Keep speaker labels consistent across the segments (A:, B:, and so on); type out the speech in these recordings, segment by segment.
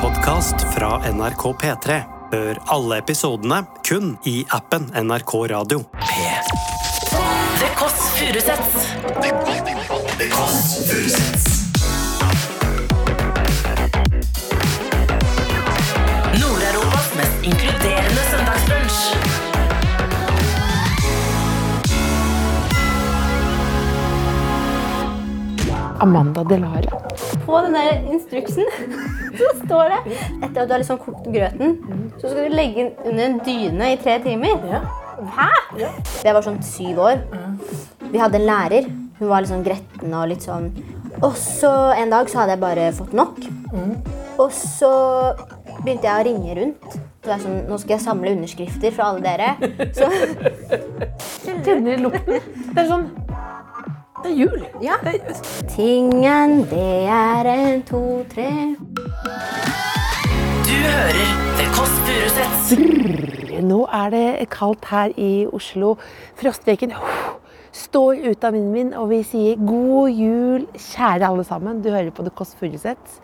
A: podkast fra NRK P3. Hør alle episodene kun i appen NRK Radio.
B: The Kåss Furuseths. Nord-Europas mest inkluderende søndagsbrunch.
C: Amanda Delara.
D: På den der instruksen så står det Etter at du har liksom kokt grøten, så skal du legge den under en dyne i tre timer. Hæ?! Jeg var sånn syv år. Vi hadde en lærer. Hun var litt sånn gretten og litt sånn Og så en dag så hadde jeg bare fått nok. Og så begynte jeg å ringe rundt. Så det er sånn, Nå skal jeg samle underskrifter fra alle dere. Så
C: Kjenner lukten. Det er sånn Det er jul.
D: Ja. Tingen, det er en, to, tre
B: Du hører The Kåss Furuseths.
C: Nå er det kaldt her i Oslo. Frostviken står ut av vinden min, og vi sier god jul, kjære alle sammen. Du hører på The Kåss Furuseth.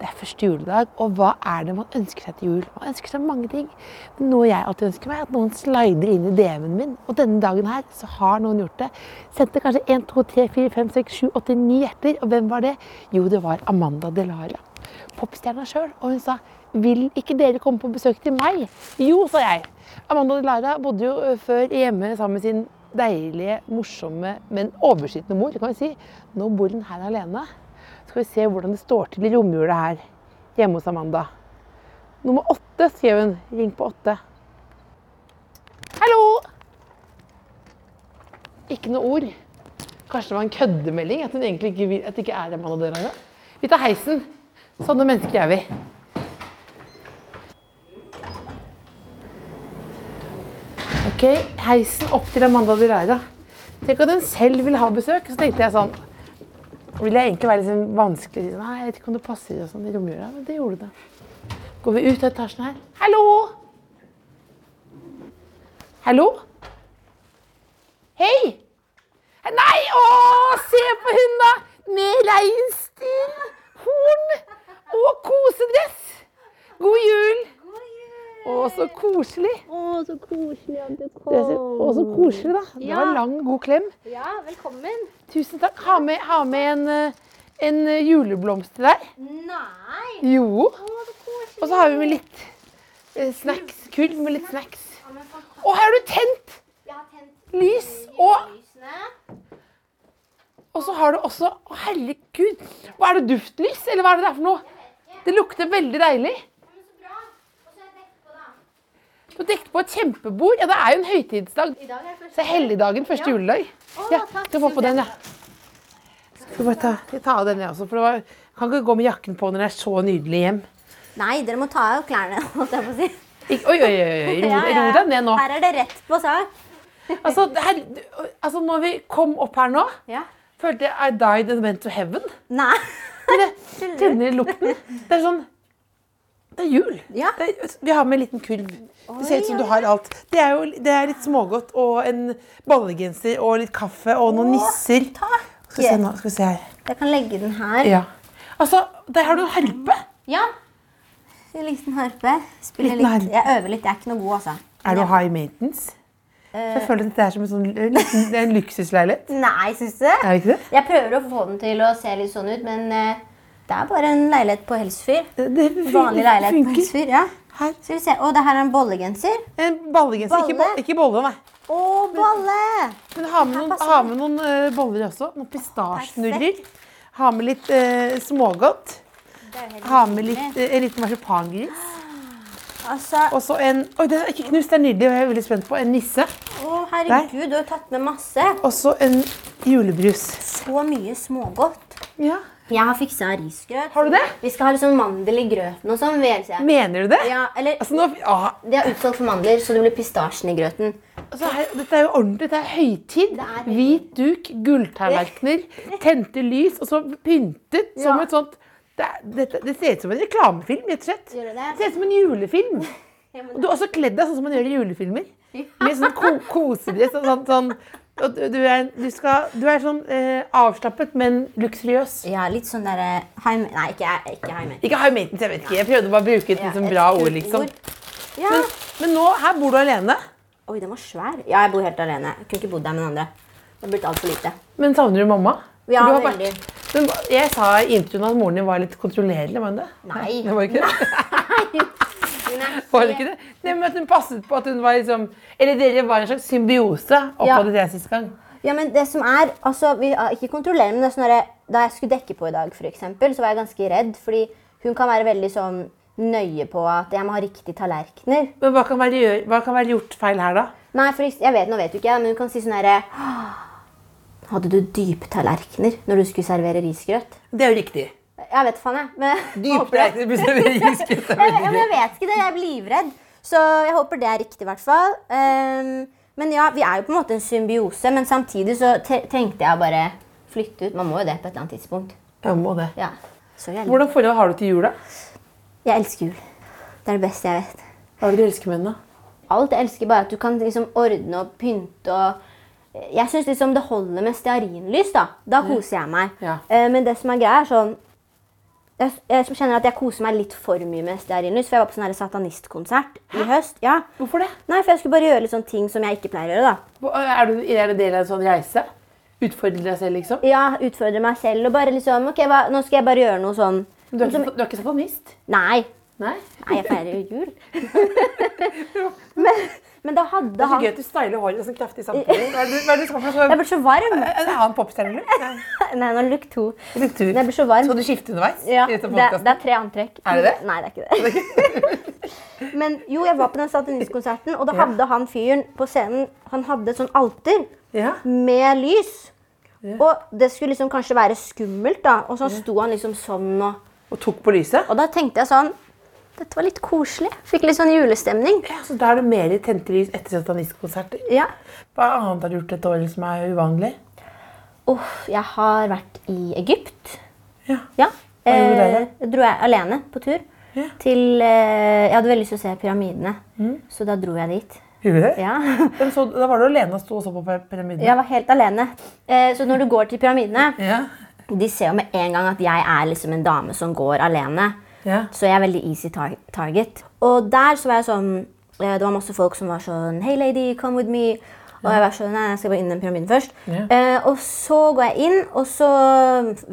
C: Det er første juledag, og hva er det man ønsker seg til jul? Man ønsker seg mange ting. Men noe jeg alltid ønsker meg, er at noen slider inn i DM-en min. Og denne dagen her så har noen gjort det. Sendte kanskje 1, 2, 3, 4, 5, 6, 7, 8, 9 hjerter. Og hvem var det? Jo, det var Amanda Delara popstjerna sjøl, og hun sa vil ikke dere komme på besøk til meg? Jo, sa jeg. Amanda Delara bodde jo ø, før hjemme sammen med sin deilige, morsomme, men oversittende mor. kan vi si. Nå bor hun her alene. Så skal vi se hvordan det står til i romjula her hjemme hos Amanda. Nummer åtte, skrev hun. Ring på åtte. Hallo! Ikke noe ord. Kanskje det var en køddemelding? At, hun egentlig ikke, vil- at det ikke er Amanda Delara? Vi tar heisen. Sånne mennesker er vi. Ok, heisen opp til Amanda Delara. Tenk at hun selv vil ha besøk. Så tenkte jeg sånn Vil jeg egentlig være liksom vanskelig? Sånn, Nei, jeg vet ikke om det passer og sånn i romjula, men det gjorde det. Går vi ut av etasjen her? Hallo! Hallo? Hei! Nei, å, se på hun da! Med reinsdyr, horn og kosedress. God jul! Å, så koselig.
D: Å, så koselig at du
C: Det er så- Å, så koselig, da. Det var en lang, god klem.
D: Ja, velkommen.
C: Tusen takk. Ha med, ha med en, eh, en eh, juleblomst til deg.
D: Nei!
C: Jo.
D: Å, så koselig.
C: Og så har vi med litt eh, snacks. Kurv med litt snacks. Og her har du tent
D: Jeg har tent
C: lys og
D: lysene.
C: Og så har du også Å, herregud! Hva er det duftlys, eller hva er det det er for noe? Det lukter veldig deilig.
D: Men så bra. Og så er jeg dekket på, da.
C: Du har dekket på et kjempebord. Ja, det er jo en høytidsdag.
D: I dag er det
C: Så
D: første
C: er helligdagen første juledag. Ja, skal få på den, ja. Skal bare ta, jeg tar av den, jeg også. For det var, jeg kan ikke gå med jakken på når det er så nydelig hjem.
D: Nei, dere må ta av klærne, holdt jeg på å si.
C: Ik oi, oi, oi, oi. Ro,
D: Ja, ja.
C: ro deg ned nå.
D: Her er det rett på sak.
C: Altså, det her, altså, når vi kom opp her nå,
D: Ja.
C: følte jeg I died and went to heaven.
D: Nei.
C: Men jeg kjenner lukten. Det er sånn Det er jul.
D: Ja.
C: Det er, vi har med en liten kurv. Det ser ut som du har alt. Det er jo det er litt smågodt og en bollegenser og litt kaffe og noen nisser.
D: Takk.
C: Skal vi se nå. Skal vi se her.
D: Jeg kan legge den her.
C: Ja. Altså, der har du en harpe.
D: Ja. En liten harpe. Spiller
C: Liten
D: litt.
C: harpe.
D: Jeg øver litt. Jeg er ikke noe god, altså.
C: Er du high maintenance?
D: Eh.
C: Jeg føler at dette er som en, sånn, liten, det er en luksusleilighet.
D: Nei, syns du det?
C: Er det ikke det?
D: Jeg prøver å få den til å se litt sånn ut, men eh, det er bare en leilighet på Helsfyr.
C: Det- det fun-
D: Vanlig leilighet på
C: funker.
D: Helsfyr, ja.
C: Her.
D: Skal vi se. Å, det her er en bollegenser.
C: En ballegenser. Ikke, bo-
D: Bolle.
C: ikke bolle, nei.
D: Å, bolle!
C: Men ha med
D: Her
C: noen,
D: passer
C: ha med noen eh, boller også. Noen pistasjenurrer.
D: Perfekt.
C: Ha med litt eh, smågodt.
D: Det er jo helt
C: Ha med
D: nydelig.
C: litt, eh, en liten marsipangris.
D: Altså,
C: Og så en Oi, den er ikke knust, det er nydelig. og Jeg er veldig spent på en nisse.
D: å herregud, du har tatt med masse.
C: Og så en julebrus.
D: Så mye smågodt.
C: Ja.
D: Jeg har fiksa risgrøt.
C: Har du det?
D: Vi skal ha litt sånn mandel i grøten og sånn. vil jeg si.
C: Mener du det?
D: Ja, eller
C: Altså, nå, ah,
D: De er utsolgt for mandler, så det blir pistasjen i grøten.
C: altså her, dette er jo ordentlig. Det er høytid.
D: Det er høytid.
C: Hvit duk, gulltallerkener, tente lys, og så pyntet som
D: Ja.
C: et sånt det, er, dette- det ser ut som en reklamefilm, rett og slett.
D: Gjør det det?
C: ser ut som en julefilm.
D: Ja, men
C: Og Du har også kledd deg sånn som man gjør i julefilmer. Med sånn ko kosedress og sånn. sånn og du, du er, du, skal, du er sånn eh, avslappet, men luksuriøs.
D: Ja, litt sånn derre heim... Nei, ikke, ikke heim.
C: Ikke high maintenance, jeg vet ikke. Jeg prøvde bare å bruke et
D: Ja,
C: liksom,
D: et
C: bra
D: kult
C: ord, liksom.
D: Ja.
C: Men, men nå, her bor du alene.
D: Oi, den var svær. Ja, jeg bor helt alene. Jeg kunne ikke bodd der med noen andre. Det har blitt altfor lite.
C: Men savner du mamma?
D: Ja,
C: du har vært-
D: veldig.
C: Men hva- jeg sa i introen at moren din var litt kontrollerende, var hun det?
D: Nei.
C: Det var ikke det?
D: Hun er
C: Var det ikke det? Nei, men at hun passet på at hun var liksom Eller dere var en slags symbiose
D: Ja.
C: oppholdet jeg sist gang.
D: Ja, men det som er, altså, vi ah, Ikke kontrollerer, men det er sånn derre- da jeg skulle dekke på i dag, for eksempel, så var jeg ganske redd. Fordi hun kan være veldig sånn nøye på at jeg må ha riktige tallerkener.
C: Men hva kan være, gjør- hva kan være gjort feil her, da?
D: Nei, for eks- jeg vet, nå vet du ikke, men hun kan si sånn herre Hadde du dype tallerkener når du skulle servere risgrøt?
C: Det er jo riktig.
D: Jeg vet faen, jeg. Men jeg, håper det. jeg, jeg,
C: Dypere
D: jeg vet ikke det. Jeg blir livredd. Så jeg håper det er riktig, i hvert fall. Ehm, men ja, vi er jo på en måte en symbiose, men samtidig så tre- trengte jeg å bare flytte ut. Man må jo det på et eller annet tidspunkt.
C: Jeg må det.
D: Ja. Så jeg,
C: Hvordan forhold har du til jula?
D: jeg elsker jul. Det er det beste jeg vet.
C: Hva er det du elsker med den, da?
D: Alt jeg elsker, bare at du kan liksom ordne og pynte og Jeg syns liksom det holder med stearinlys, da. Da koser jeg meg.
C: Mm. Ja.
D: Eh, Men det som er greia, er sånn jeg, jeg kjenner at jeg koser meg litt for mye med stearinlys. For jeg var på sånn her satanistkonsert i høst. Ja.
C: Hvorfor det?
D: Nei, for jeg skulle bare gjøre litt sånn ting som jeg ikke pleier å gjøre, da.
C: Hva- Er du, er du del av en sånn reise? Utfordre deg selv, liksom?
D: Ja, utfordre meg selv og bare liksom Ok, hva, nå skal jeg bare gjøre noe sånn
C: Men Du er ikke, du er ikke satanist?
D: Nei.
C: Nei?
D: Nei, jeg feirer jo jul. men, men da hadde
C: Det er så
D: han
C: gøy at du styler håret sånn kraftig samtidig. Hva er det du- hva er det du skal for
D: Jeg
C: noe?
D: ble så varm.
C: En annen popstjerne, eller?
D: Nei, nå look to.
C: Litt tur.
D: Men jeg blir så varm.
C: Skal du skifte underveis?
D: Ja,
C: I
D: det,
C: dette podcasten?
D: det er tre antrekk.
C: Er det det?
D: Nei, det er ikke det. men jo, jeg var på den satanistkonserten, og da hadde han fyren på scenen Han hadde et sånn alter
C: Ja.
D: med lys. Og det skulle liksom kanskje være skummelt, da. Og så sto han liksom sånn og
C: Og tok på lyset?
D: Og da tenkte jeg sånn Dette var litt koselig. Fikk litt sånn julestemning.
C: Ja, så da er det mer tente lys etter satanistkonserter.
D: Ja.
C: Hva annet har du gjort dette året som er uvanlig?
D: Uff, jeg har vært i Egypt.
C: Ja.
D: Ja.
C: Hva gjorde dere?
D: dro jeg alene på tur.
C: Ja. Mm.
D: Til eh, Jeg hadde veldig lyst til å se pyramidene, så da dro jeg dit.
C: Gjorde du det?
D: Ja.
C: Men så, da var du alene og sto og så på pyra- pyramiden?
D: Jeg var helt alene. Eh, så når du går til pyramidene
C: Ja.
D: De ser jo med en gang at jeg er liksom en dame som går alene.
C: Ja.
D: Så jeg er veldig easy tar target. Og der så var jeg sånn eh, Det var masse folk som var sånn Hey lady, come with me. Og jeg var sånn, nei, jeg skal bare inn den pyramiden først.
C: Ja.
D: Eh, og så går jeg inn, og så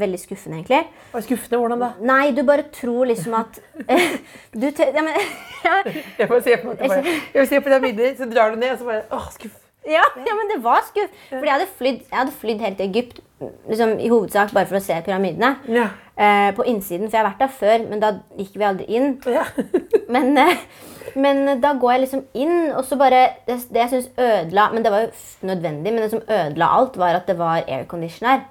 D: Veldig skuffende, egentlig.
C: Var det skuffende? Hvordan da?
D: Nei, du bare tror liksom at eh, Du tør ja, men, ja,
C: Jeg får se på, jeg bare, jeg vil se på pyramiden, så drar du ned, og så bare Åh, skuff.
D: ja, ja, men det var skuff. Fordi jeg hadde flydd, jeg hadde flydd helt til Egypt liksom, i hovedsak bare for å se pyramidene.
C: Ja.
D: Eh, på innsiden, for jeg har vært der før, men da gikk vi aldri inn.
C: Ja.
D: Men, eh, men da går jeg liksom inn, og så bare Det, det jeg syns ødela Men det var jo f- nødvendig, men det som ødela alt, var at det var aircondition her.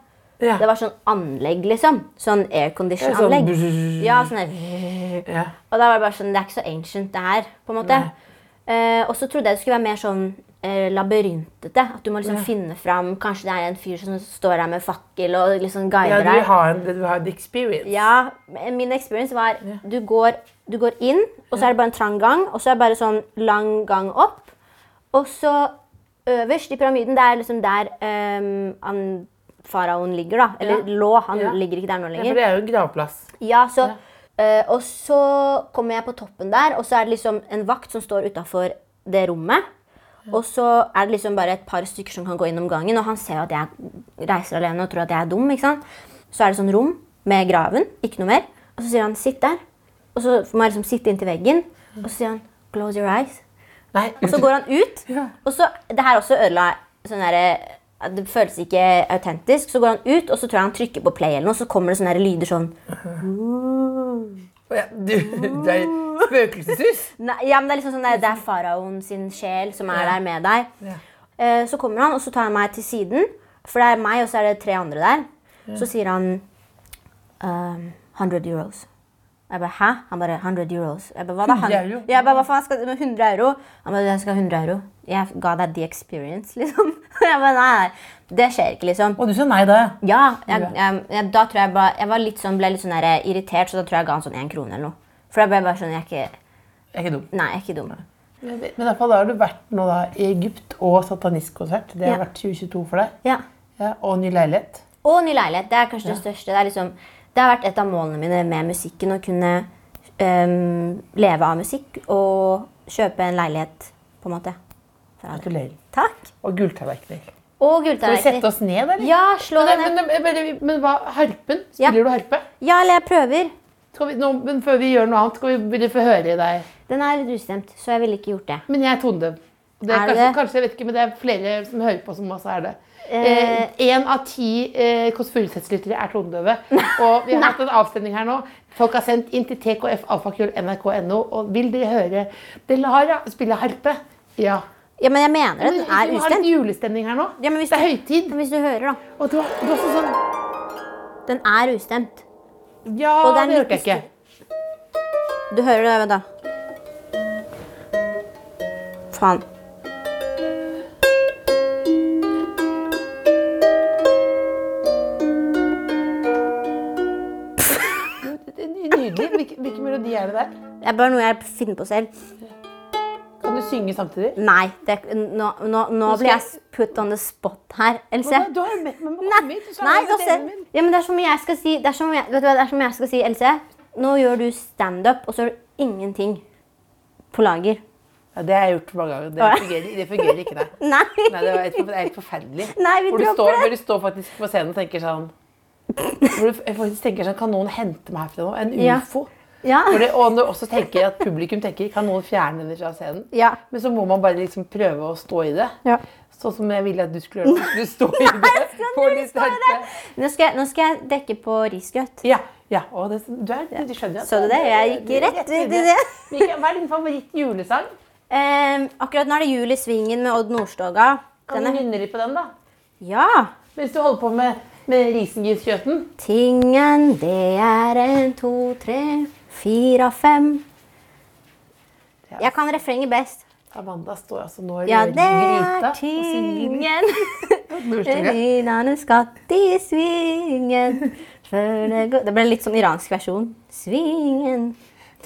C: ja.
D: Det var sånn anlegg, liksom. Sånn aircondition-anlegg.
C: Ja, sånn-
D: Ja, sånn der.
C: ja.
D: Og da var det bare sånn Det er ikke så ancient, det her, på en måte. Eh, og så trodde jeg det skulle være mer sånn eh, labyrintete. At du må liksom finne fram Kanskje det er en fyr som står her med fakkel og liksom
C: ja
D: guider
C: du
D: deg.
C: vil ha en, du vil ha en experience.
D: Ja, min experience var du går, du går inn, og så er det bare en trang gang, og så er det bare sånn lang gang opp. Og så øverst i pyramiden, det er liksom der ehm, han, faraoen ligger, da. Eller
C: Ja.
D: lå, han
C: Ja.
D: ligger ikke der nå
C: Ja, for
D: lenger.
C: det er jo en gravplass.
D: Ja, så, eh, og så kommer jeg på toppen der, og så er det liksom en vakt som står utafor det rommet. Og så er det liksom bare et par stykker som kan gå innom gangen, og han ser jo at jeg reiser alene og tror at jeg er dum. ikke sant? Så er det sånn rom med graven, ikke noe mer. Og så sier han 'sitt der', og så må jeg liksom sitte inntil veggen, og så sier han 'close your eyes'.
C: Nei,
D: Og så går han ut,
C: Ja.
D: og så Det her også ødela sånn derre det føles ikke autentisk. Så går han ut, og så tror jeg han trykker på play, eller noe, så kommer det sånne her lyder sånn
C: Ja, du, du er spøkelseshus.
D: Nei, ja, men det er liksom sånn der, Det er faraoen sin sjel som er
C: Ja.
D: der med deg.
C: Ja.
D: Eh, så kommer han, og så tar han meg til siden. For det er meg, og så er det tre andre der. Så sier han ehm, 100 euros. Jeg bare, hæ? Han bare 100 euros. Jeg bare, hva da?
C: 100 euro?
D: Jeg bare, hva faen skal du med 100 euro? Han bare, jeg skal ha 100 euro. Jeg ga deg the experience, liksom. Jeg bare, nei, nei, det skjer ikke, liksom.
C: Og du sa nei da, ja.
D: Ja, jeg, jeg, jeg, da tror jeg bare, jeg var litt sånn, ble litt sånn der, irritert, så da tror jeg jeg ga han sånn en krone eller noe. For da ble jeg bare sånn, jeg er ikke...
C: Jeg er ikke dum.
D: Nei, jeg er ikke dum.
C: Men i hvert fall da har du vært nå da i Egypt og satanistkonsert. Det har
D: Ja.
C: vært 2022 for deg.
D: Ja.
C: Ja, og ny leilighet.
D: Og ny leilighet. Det er kanskje det største. Det, er liksom, det har vært et av målene mine med musikken. Å kunne øhm, leve av musikk og kjøpe en leilighet, på en måte. Fra det.
C: Gratulerer.
D: Takk.
C: Og gulltallerkener.
D: Og
C: Skal vi sette oss
D: gulltallerkener.
C: ned, eller?
D: Ja, slå
C: Men,
D: deg
C: men,
D: ned.
C: men, men, men hva, harpen?
D: Ja.
C: Spiller du harpe?
D: Ja, eller jeg prøver.
C: Skal vi, nå, men før vi gjør noe annet, skal vi ville få høre deg.
D: Den er litt ustemt, så jeg ville ikke gjort det.
C: Men jeg er tonedøv. Det er
D: Er
C: kanskje,
D: det?
C: kanskje, jeg vet ikke, men det er flere som hører på som også er det.
D: Eh.
C: Én av ti eh, Kåss Furuseths-lyttere er tonedøve. Og vi har hatt en avstemning her nå. Folk har sendt inn til tkfalfakrøll.nrk.no. Og vil dere høre Delara spille harpe? Ja.
D: Ja, Men jeg mener
C: Men
D: det. Den er
C: vi har en
D: ustemt.
C: julestemning her nå.
D: Ja, men hvis
C: det er
D: du-
C: høytid.
D: Men Hvis du hører, da.
C: Og du har, du har også sånn
D: Den er ustemt.
C: Ja,
D: Og det er
C: det,
D: en
C: hørte jeg
D: liten
C: ikke.
D: Du hører det, vent da. Faen.
C: Nydelig. Hvilken hvilken melodi er det der?
D: Det er bare noe jeg finner på selv.
C: Kan du synge samtidig?
D: Nei, det, er- nå, nå, nå
C: skal
D: blir jeg
C: jeg-
D: put on the spot her, Else.
C: Men da- Du har jo bedt meg om å
D: Nei,
C: komme hit. og så er
D: nei
C: det
D: Else.
C: stemmen min.
D: Ja, men det er som om jeg skal si, det er som om jeg, vet du hva, det er som om jeg skal si, Else, nå gjør du stand-up, og så gjør du ingenting på lager.
C: Ja, det har jeg gjort mange ganger. Det fungerer, det fungerer ikke, nei.
D: Nei.
C: Nei, det er helt for- det er helt forferdelig.
D: Nei, vi
C: hvor, du
D: dropper
C: står,
D: det.
C: hvor du står faktisk på scenen og tenker sånn hvor du f- faktisk tenker sånn, Kan noen hente meg herfra nå? En
D: Ja.
C: ufo?
D: Ja.
C: Hvor det, og når du også tenker at publikum tenker Kan noen fjerne henne fra scenen?
D: Ja.
C: Men så må man bare liksom prøve å stå i det.
D: Ja.
C: Sånn som jeg ville at du skulle gjøre. Du står i det. får litt harpe.
D: Nå skal, jeg- nå skal jeg dekke på risgrøt.
C: Ja. ja. Og det, du, er, du skjønner at
D: Så du det? Jeg gikk rett ut i det.
C: Mikael, Hva er din favoritt-julesang?
D: Ehm, akkurat nå er det jul i svingen med Odd Nordstoga.
C: Kan
D: Den
C: du
D: er,
C: nynne litt på den, da?
D: ja.
C: Mens du holder på med, med risengrynkjøtten.
D: Tingen, det er en, to, tre, fire, fem.
C: Ja.
D: Jeg kan refrenget best.
C: Amanda står altså nå og
D: Ja,
C: rører
D: det er
C: gryta og synger
D: tingen.
C: bursdagen.
D: Rinane skatt i svingen før det går Det ble litt sånn iransk versjon. Svingen.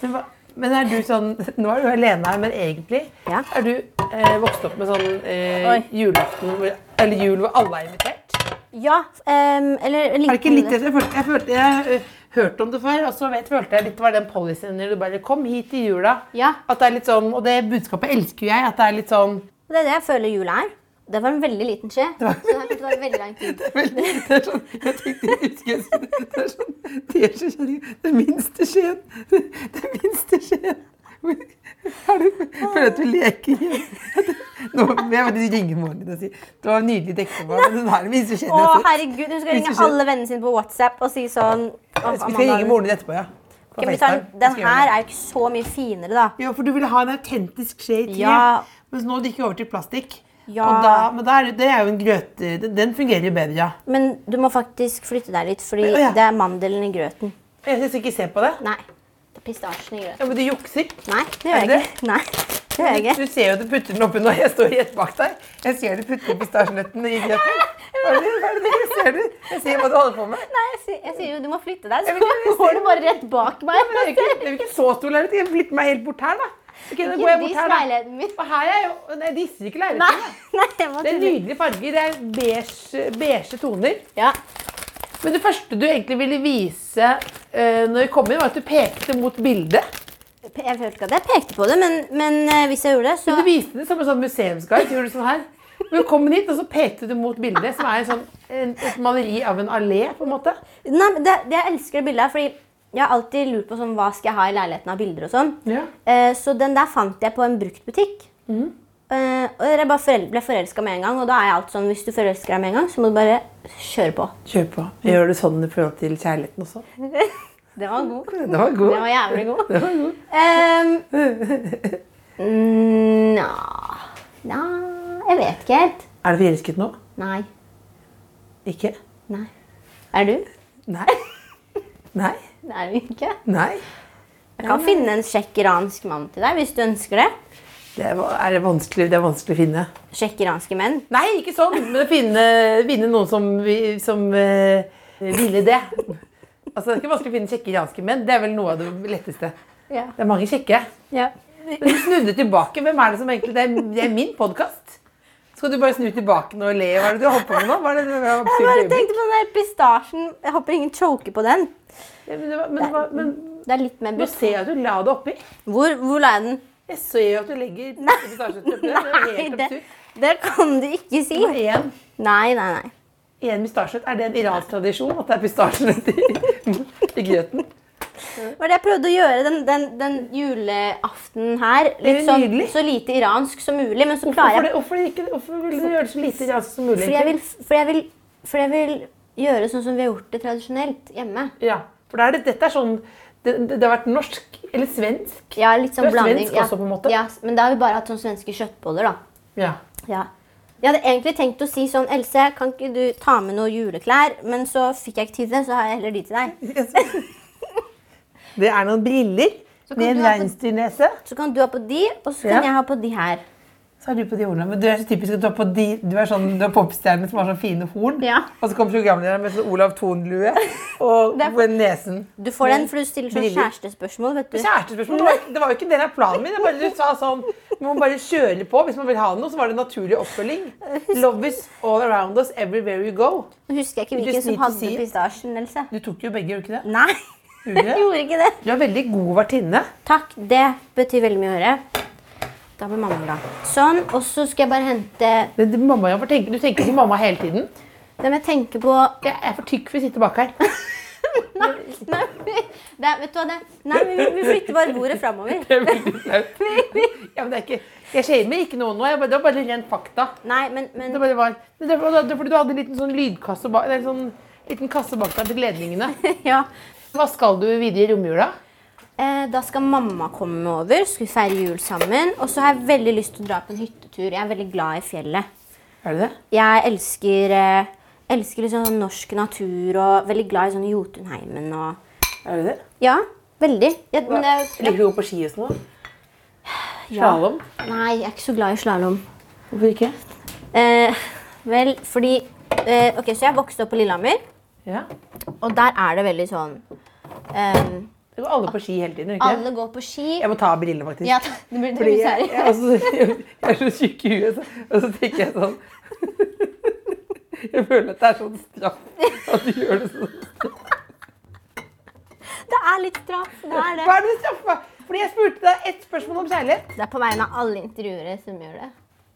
C: Men hva- Men er du sånn, Nå er du alene her, men egentlig
D: Ja.
C: er du eh, vokst opp med sånn eh,
D: Oi.
C: julaften hvor- Eller jul hvor alle er invitert?
D: Ja, em, eller
C: Er det ikke litt Jeg følte, jeg, følte, jeg eh, hørte om det før, og så vet, følte jeg litt det var den policyen når du bare Kom hit i jula.
D: Ja.
C: At det er litt sånn, Og det budskapet elsker jo jeg. At det er litt sånn
D: Det er det jeg føler jula er. Det var en veldig liten skje. Så det har tatt veldig lang tid.
C: Det er sånn, jeg tenkte jeg husker jeg- Det er sånn teskjekjerring. Den minste skjeen. Den minste skjeen. Er du, jeg føler at du leker igjen. Nå må jeg bare ringe moren din og si det var en nydelig dekning, men hun har den minste skjeen.
D: Å,
C: altså.
D: herregud, hun skal ringe alle vennene sine på WhatsApp og si sånn «Å,
C: Vi skal
D: Amanda,
C: ringe moren din etterpå, ja. På
D: ok, men vi tar-
C: FaceTime. Vi
D: Den
C: skal gjøre
D: her
C: det.
D: er jo ikke så mye finere, da.
C: Ja, for du ville ha en autentisk skje i tre.
D: Ja.
C: Mens nå gikk det over til plastikk.
D: Ja.
C: Og da, men da er, det- det er jo en grøt... Den, den fungerer jo bedre, ja.
D: Men du må faktisk flytte deg litt, fordi
C: Å, ja.
D: det er mandelen i grøten.
C: Jeg skal ikke se på det.
D: Nei. Det er pistasjen i grøten.
C: Ja, men du jukser.
D: Nei, det gjør
C: Er det?
D: jeg ikke. Nei, det gjør jeg ikke.
C: Du ser jo at du putter den oppi nå. Jeg står rett bak deg. Jeg ser du putter pistasjenøttene i grøten. Hva er det, hva er det jeg ser du? Jeg ser hva du holder på med.
D: Nei, jeg sier, jeg sier jo du må flytte deg,
C: Jeg vil ikke-
D: så går du bare rett bak
C: Nei, men det
D: meg.
C: er jo ikke, det er jo ikke så stor leilighet. Jeg flytter meg helt bort her, da. Ok, da går jeg bort
D: Vis
C: her, da.
D: leiligheten min.
C: Og her er jo Nei, jeg disser ikke
D: Nei,
C: leiligheten. da.
D: nei, jeg må
C: Det er
D: tulle.
C: nydelige farger. Det er beige, beige toner.
D: Ja.
C: Men det første du egentlig ville vise eh, når vi kom inn, var at du pekte mot bildet.
D: Pe- Jeg følte ikke at jeg pekte på det, men, men eh, hvis jeg gjorde det, så
C: Men du viste det som en sånn museumsguide. så Gjorde du sånn her. Velkommen hit, og så pekte du mot bildet, som er en sånn, en, et maleri av en allé. på en måte.
D: Nei, men det, det jeg elsker det bildet her, fordi jeg har alltid lurt på sånn, hva skal jeg ha i leiligheten av bilder og sånn.
C: Ja.
D: Eh, så den der fant jeg på en bruktbutikk. Eh, og jeg bare forel ble forelska med en gang, og da er jeg alltid sånn hvis du forelsker deg med en gang, så må du bare kjøre på.
C: Kjør på. Gjør du sånn i forhold til kjærligheten også?
D: Den var god.
C: Den var god.
D: Den var jævlig god. Ehm, mm, Nja Nja, jeg vet ikke helt.
C: Er du forelsket nå?
D: Nei.
C: Ikke?
D: Nei. Er du?
C: Nei. Nei.
D: Det er du ikke.
C: Nei.
D: Jeg kan finne en sjekk iransk mann til deg hvis du ønsker det.
C: Det er, er det vanskelig, det er vanskelig å finne.
D: Sjekk iranske menn.
C: Nei, ikke sånn, men å finne, finne noen som, vi- som eh, ville det. Altså, Det er ikke vanskelig å finne kjekke iranske menn. Det er vel noe av det letteste.
D: Ja.
C: Det er mange kjekke.
D: Ja.
C: Vi snudde tilbake. Hvem er det som egentlig Det er, det er min podkast. Skal du bare snu tilbake nå og le? Hva er det du holdt på med nå? Hva er det, det var et
D: Jeg
C: absurd
D: bare
C: øyeblikk?
D: tenkte på den der pistasjen. Jeg håper ingen choker på den.
C: Ja, men, det var- men, det var- men
D: Det er litt mer
C: nå
D: brus.
C: ser jeg at du la det oppi.
D: Hvor, hvor la jeg den?
C: Jeg ser at du legger pistasjesuppe oppi. Det er helt
D: det,
C: absurd.
D: det kan du ikke si.
C: Og en-
D: Nei, nei, nei.
C: en pistasje, er det en iransk tradisjon at det er pistasjenøtter i grøten?
D: Det var det jeg prøvde å gjøre den, den, den juleaftenen her.
C: er
D: Litt sånn,
C: nydelig.
D: så lite iransk som mulig, men så
C: Hvorfor,
D: klarer jeg
C: det, hvorfor, ikke, hvorfor vil du gjøre det så lite iransk som mulig?
D: Fordi jeg vil, fordi jeg vil, fordi jeg vil gjøre sånn som vi har gjort det tradisjonelt hjemme.
C: Ja, for da er det, dette er sånn det, det, det har vært norsk eller svensk.
D: Ja, litt sånn
C: Du er
D: blanding.
C: svensk
D: ja.
C: også, på en måte.
D: Ja, men da har vi bare hatt sånn svenske kjøttboller, da.
C: Ja.
D: Ja. Jeg hadde egentlig tenkt å si sånn, Else, kan ikke du ta med noen juleklær? Men så fikk jeg ikke tid til det, så har jeg heller de til deg.
C: Det er noen briller
D: Så kan med en du ha på-
C: reinsdyrnese.
D: Så kan du ha på de, og så
C: Ja.
D: kan jeg ha på de her.
C: Så har du på de hornene. Men du er så typisk at du har på de Du er sånn, du er popstjerne som har sånne fine horn.
D: Ja.
C: Og så kommer programlederen med sånn Olav Thon-lue og
D: Det er-
C: på nesen.
D: Du får den, for du stiller sånn
C: Briller.
D: kjærestespørsmål, vet du.
C: Kjærestespørsmål det var ikke- det var jo ikke en del av planen min. Det var, du sa sånn Man må bare kjøre på hvis man vil ha noe. Så var det en naturlig oppfølging. Love is all around us everywhere you go.
D: Nå husker jeg ikke hvilken
C: Just
D: som
C: need to
D: hadde
C: see it.
D: pistasjen, Else.
C: Du tok jo begge, gjorde du ikke det?
D: Nei,
C: Gjorde du
D: jeg
C: det?
D: gjorde ikke det.
C: Du er veldig god vertinne.
D: Takk, det betyr veldig mye å høre. Da blir mamma glad. Sånn, og så skal jeg bare hente
C: Men det- mamma, jeg får tenke, du tenker på mamma hele tiden.
D: Det må jeg tenke på
C: Jeg er for tykk for å sitte bak her.
D: Nei, nei, det, er- vet du hva det Nei, vi, vi flytter bare bordet framover.
C: Det er veldig flaut. Ja, men det er ikke, jeg shamer ikke noen nå. Jeg bare, det var bare rent fakta.
D: Nei, men, men
C: Det bare var, men det var, det var fordi du hadde en liten sånn lydkasse bak, eller sånn liten kasse bak deg til ledningene.
D: Ja.
C: Hva skal du videre i romjula?
D: Eh, da skal mamma komme over, skal vi feire jul sammen. Og så har jeg veldig lyst til å dra på en hyttetur. Jeg er veldig glad i fjellet.
C: Er det det?
D: Jeg elsker, eh, elsker liksom sånn norsk natur og veldig glad i sånn Jotunheimen og
C: Er det det?
D: Ja, veldig. Ja, men det,
C: Ligger du på ski og sånn? Slalåm?
D: Nei, jeg er ikke så glad i slalåm.
C: Hvorfor ikke?
D: Eh, vel, fordi eh, Ok, så jeg vokste opp på Lillehammer,
C: Ja.
D: og der er det veldig sånn eh,
C: Det går alle på ski hele tiden, gjør ikke det?
D: Alle går på ski.
C: Jeg må ta av brillene, faktisk.
D: Ja, det blir
C: Fordi
D: litt
C: jeg, jeg,
D: seriøst.
C: altså, jeg, jeg er så tjukk i huet, så, og så tenker jeg sånn Jeg føler at det er sånn straff at du gjør det sånn.
D: Det er litt straff. Det
C: Hva
D: er det.
C: er det du straffer meg? Fordi jeg spurte deg ett spørsmål om kjærlighet.
D: Det er på vegne av alle intervjuere som gjør det.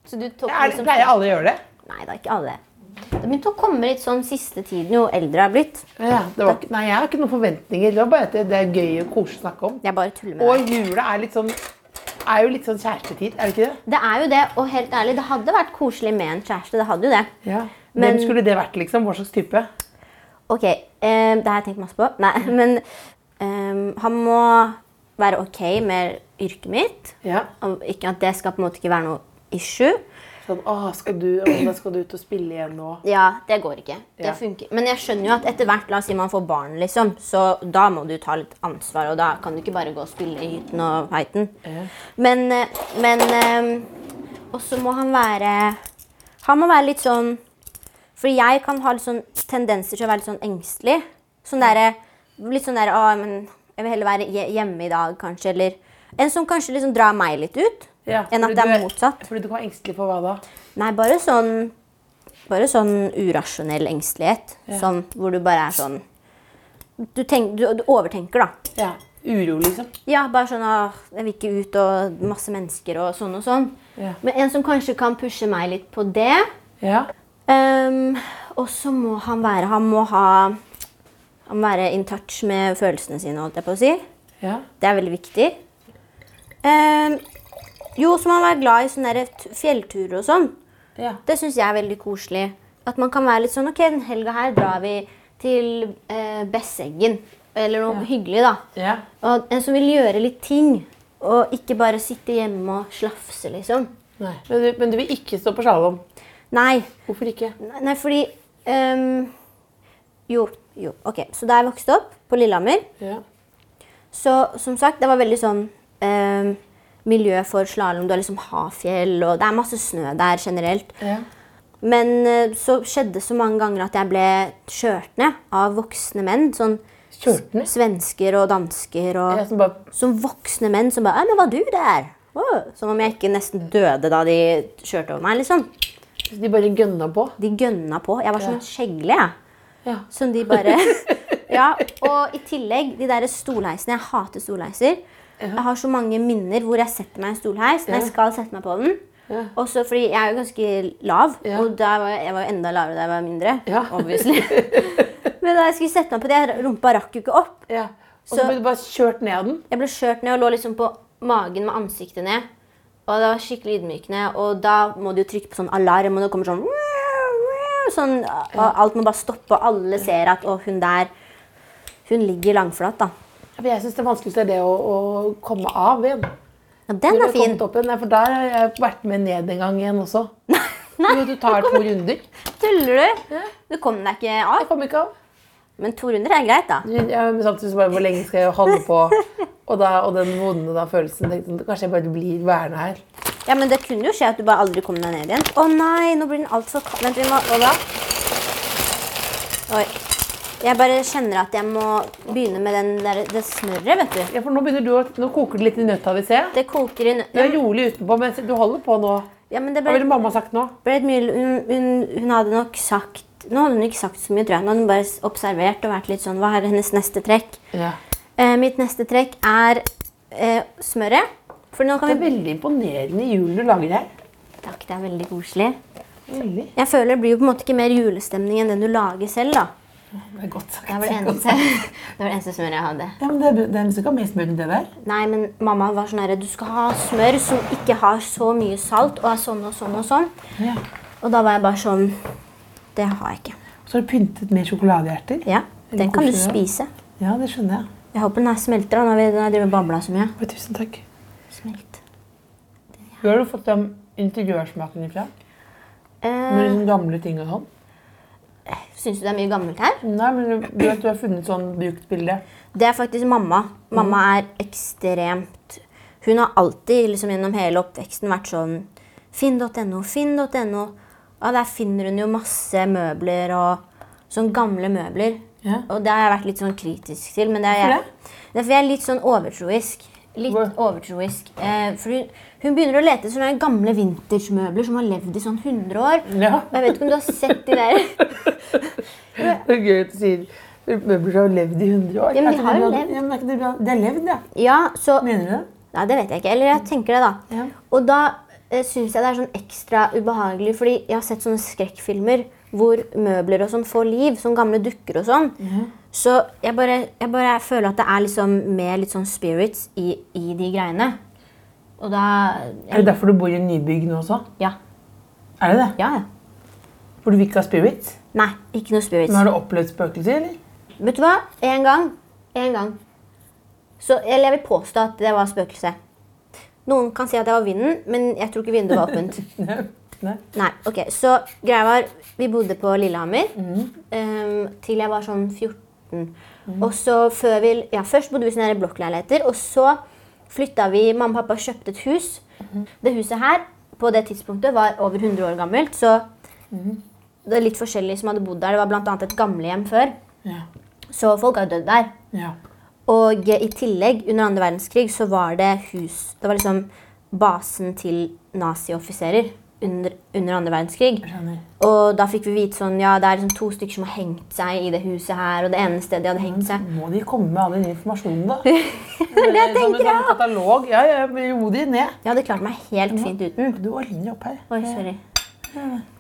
D: Så du tok
C: Det er,
D: liksom-
C: pleier alle å gjøre det?
D: Nei, det er ikke alle. Det har begynt å komme litt sånn siste tiden, jo eldre jeg er blitt.
C: Ja, det var ikke, nei, jeg har ikke noen forventninger. Det var bare at det, det er gøy og koselig å snakke om.
D: Jeg bare tuller med deg.
C: Og jula er litt sånn er jo litt sånn kjærestetid, er det ikke det?
D: Det er jo det, og helt ærlig, det hadde vært koselig med en kjæreste. Det hadde jo det.
C: Ja.
D: Men-
C: Hvem skulle det vært, liksom? Hva slags type?
D: Ok, eh, det har jeg tenkt masse på. Nei, men eh, han må være ok med yrket mitt.
C: Ja.
D: Og ikke at det skal på en måte ikke være noe issue.
C: Sånn, å, skal du, å, da skal du ut og spille igjen nå.
D: Ja, det går ikke. Det
C: Ja.
D: funker. Men jeg skjønner jo at etter hvert, la oss si man får barn, liksom, så da må du ta litt ansvar, og da kan du ikke bare gå og spille i hytten og heiten. Men, eh, men eh, Og så må han være Han må være litt sånn For jeg kan ha litt sånn tendenser til å være litt sånn engstelig. Sånn derre Litt sånn derre Å, men jeg vil heller være hje- hjemme i dag, kanskje, eller En som kanskje liksom drar meg litt ut,
C: Ja,
D: enn
C: fordi
D: at det
C: du
D: er motsatt.
C: Fordi du kan være engstelig for hva da?
D: Nei, bare sånn Bare sånn urasjonell engstelighet. Sånn hvor du bare er sånn du, tenk, du, du overtenker, da.
C: Ja. Uro, liksom.
D: Ja, bare sånn «Åh, Jeg vil ikke ut, og masse mennesker og sånn og sånn.
C: Ja.
D: Men en som kanskje kan pushe meg litt på det.
C: Ja.
D: ehm, og så må han være Han må ha Han må være in touch med følelsene sine, holdt jeg på å si.
C: ja.
D: Det er veldig viktig. Ehm, jo, så må han være glad i sånne der t- fjellturer og sånn.
C: ja.
D: Det syns jeg er veldig koselig. At man kan være litt sånn OK, den helga her drar vi til eh, Besseggen. Eller noe hyggelig, da.
C: ja.
D: Og en som vil gjøre litt ting. Og ikke bare sitte hjemme og slafse, liksom.
C: Nei. Men, du, men du vil ikke stå på slalåm?
D: Nei,
C: Hvorfor ikke?
D: nei fordi ehm, Jo, jo. OK. Så da jeg vokste opp på Lillehammer,
C: Ja.
D: så som sagt, det var veldig sånn ehm, miljø for slalåm. Du har liksom Hafjell, og det er masse snø der generelt.
C: Ja.
D: Men eh, så skjedde så mange ganger at jeg ble kjørt ned av voksne menn. Sånn
C: Kjørt ned?
D: svensker og dansker og
C: Jeg som bare
D: Som voksne menn som bare «Æ, 'Men var du der?' «Åh», Som om jeg ikke nesten døde da de kjørte over meg. liksom.
C: Så de bare gønna på.
D: De gønna på. Jeg var som
C: Ja.
D: en skjegle. jeg.
C: Ja.
D: Som de bare Ja, og i tillegg de der stolheisene. Jeg hater stolheiser. Jeg har så mange minner hvor jeg setter meg i en stolheis når jeg
C: Ja.
D: skal sette meg på den.
C: Ja.
D: Og så, fordi jeg er jo ganske lav,
C: Ja.
D: og da var jeg, jeg var jo enda lavere da jeg var mindre.
C: Ja.
D: obviously. Men da jeg skulle sette meg på det, rumpa rakk jo ikke opp.
C: ja. Og så
D: Så-
C: ble du bare kjørt ned av den.
D: Jeg ble kjørt ned og lå liksom på magen med ansiktet ned. Og det var skikkelig ydmykende. Og da må du jo trykke på sånn alarm, og det kommer sånn, sånn Og alt må bare stoppe, og alle ser at å, hun der Hun ligger langflat, da.
C: For jeg syns det vanskeligste er det å, å komme av igjen.
D: Ja, den
C: Når
D: er
C: du har
D: fin.
C: kommet opp igjen, Nei, for der har jeg vært med ned en gang igjen også. Jo, du tar to runder.
D: Tuller du? Du kom deg ikke
C: Jeg
D: av.
C: kom ikke av.
D: Men to runder er greit, da.
C: Ja, men samtidig så bare, hvor lenge skal jeg holde på? Og, da, og den vonde da, følelsen. Tenkte, sånn, kanskje jeg bare blir værende her.
D: Ja, Men det kunne jo skje at du bare aldri kom deg ned igjen. Å nei, nå blir den altfor kald. Vent, vi må Hva da? Oi. Jeg bare kjenner at jeg må begynne med den der, det smøret, vet du.
C: Ja, for nå, begynner du å, nå koker det litt i nøtta, vil se.
D: Det koker i nø...
C: Du er rolig utenpå, men du holder på nå.
D: Ja, men det
C: Hva
D: ble,
C: ville mamma sagt nå?
D: ble et mye hun, hun, hun hadde nok sagt Nå hadde hun ikke sagt så mye, tror jeg. Nå hadde hun bare s- observert og vært litt sånn Hva er hennes neste trekk?
C: Ja.
D: Eh, mitt neste trekk er eh, smøret. For nå kan
C: Det er
D: vi
C: veldig imponerende jul du lager her.
D: Takk, det er veldig koselig.
C: Veldig.
D: Jeg føler det blir jo på en måte ikke mer julestemning enn den du lager selv, da.
C: Det er godt sagt.
D: Det var det
C: Godt
D: eneste,
C: sagt.
D: det var det eneste smøret jeg hadde.
C: Ja, men det er, det er ikke mer smør enn det der.
D: Nei, men mamma var sånn herre Du skal ha smør som ikke har så mye salt, og er sånn og sånn og sånn.
C: Ja.
D: Og da var jeg bare sånn Det har jeg ikke.
C: Så har du pyntet med sjokoladehjerter.
D: Ja, den kan du spise.
C: Ja, det skjønner jeg.
D: Jeg håper den her smelter da, når vi når jeg driver og babla så mye.
C: Oi, tusen takk.
D: Smelt.
C: Hvor har du fått den interiørsmaken ifra?
D: Eh,
C: Med sånne gamle ting og sånn?
D: syns du det er mye gammelt her?
C: Nei, men du du vet du har funnet sånn brukt bilde.
D: Det er faktisk mamma. Mamma er ekstremt Hun har alltid liksom gjennom hele oppveksten vært sånn Finn.no, finn.no. Ja, der finner hun jo masse møbler og sånn gamle møbler.
C: Ja.
D: Og det har jeg vært litt sånn kritisk til. Men det er
C: Hvorfor
D: jeg, det er fordi jeg er litt sånn overtroisk. Litt
C: Hvor-
D: overtroisk. Eh, for hun, hun begynner å lete etter sånne gamle vintage-møbler som har levd i sånn 100 år.
C: Ja.
D: Og jeg vet ikke om du har sett de der
C: Det er gøy at du sier møbler har levd i 100 år.
D: Ja, men
C: Er
D: de
C: ikke
D: har
C: det
D: jo
C: bra-
D: levd.
C: Ja, men er ikke det bra? De har levd, ja.
D: Ja, så
C: Mener du det?
D: Nei, det vet jeg ikke. Eller jeg tenker det, da.
C: Ja.
D: Og da eh, syns jeg det er sånn ekstra ubehagelig, fordi jeg har sett sånne skrekkfilmer hvor møbler og sånn får liv, som gamle dukker og sånn. Så jeg bare, jeg bare føler at det er liksom mer litt sånn spirits i, i de greiene. Og da
C: Er det derfor du bor i nybygg nå også?
D: Ja.
C: Er det det?
D: Ja, ja.
C: For du vil ikke ha spirits?
D: Nei, ikke noe spirits.
C: Men har du opplevd spøkelser, eller?
D: Vet du hva? En gang. En gang. Så, eller jeg vil påstå at det var spøkelse. Noen kan si at det var vinden, men jeg tror ikke vinduet var åpent.
C: Nei. Nei.
D: Nei, ok, så greia var Vi bodde på Lillehammer eh, Til jeg var sånn 14 Og så før vi Ja, først bodde vi i sånne her blokkleiligheter Og så flytta vi Mamma og pappa kjøpte et hus Det huset her på det tidspunktet var over 100 år gammelt Så det er litt forskjellig som hadde bodd der Det var blant annet et gamlehjem før
C: Ja.
D: Så folk har dødd der
C: ja.
D: og i tillegg, under andre verdenskrig, så var det hus Det var liksom basen til nazioffiserer under, under andre verdenskrig.
C: Jeg skjønner.
D: Og da fikk vi vite sånn Ja, det er liksom to stykker som har hengt seg i det huset her, og det ene stedet de hadde hengt seg.
C: Må de komme med all den informasjonen, da? det tenker jeg! sånn Katalog. Ja, ja, ro de ned.
D: Jeg hadde klart meg helt fint uten.
C: Du ordner opp her.
D: Oi, sorry.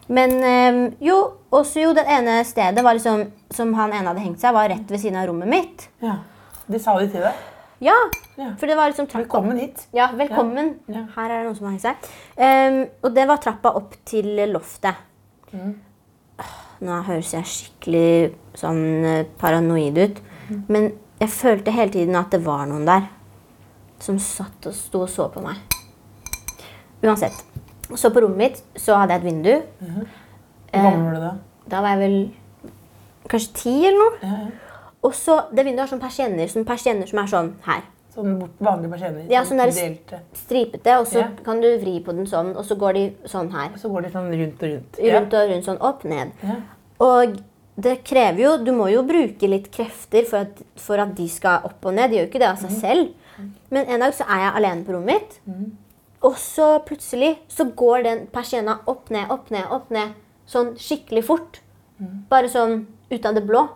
D: Men øhm, jo, også jo, det ene stedet var liksom, som han ene hadde hengt seg, var rett ved siden av rommet mitt.
C: Ja. Det sa de til deg.
D: Ja,
C: Ja.
D: for det var liksom trappa
C: Velkommen hit.
D: Ja, velkommen.
C: Ja.
D: Her er det noen som har hengt seg. Ehm, og det var trappa opp til loftet.
C: Mm.
D: Åh, Nå høres jeg skikkelig sånn eh, paranoid ut.
C: Mm.
D: Men jeg følte hele tiden at det var noen der som satt og sto og så på meg. Uansett. Så på rommet mitt så hadde jeg et vindu.
C: Hvor gammel var du da?
D: Da var jeg vel kanskje ti eller noe.
C: Ja, ja.
D: Og så, Det vinduet har sånn persienner, sånn persienner som er sånn her.
C: Sånn bort- vanlige persienner.
D: Ja, sånn der-
C: Delte.
D: Stripete, og så
C: Ja.
D: kan du vri på den sånn, og så går de sånn her.
C: Så går de sånn rundt og rundt.
D: Rundt og rundt, sånn opp, ned.
C: Ja.
D: Og det krever jo Du må jo bruke litt krefter for at, for
C: Mhm.
D: at de skal opp og ned. De gjør jo ikke det av seg selv. Men en dag så er jeg alene på rommet mitt. Og så plutselig så går den persienna opp ned, opp ned, opp ned. Sånn skikkelig fort.
C: Mhm.
D: Bare sånn ut av det blå.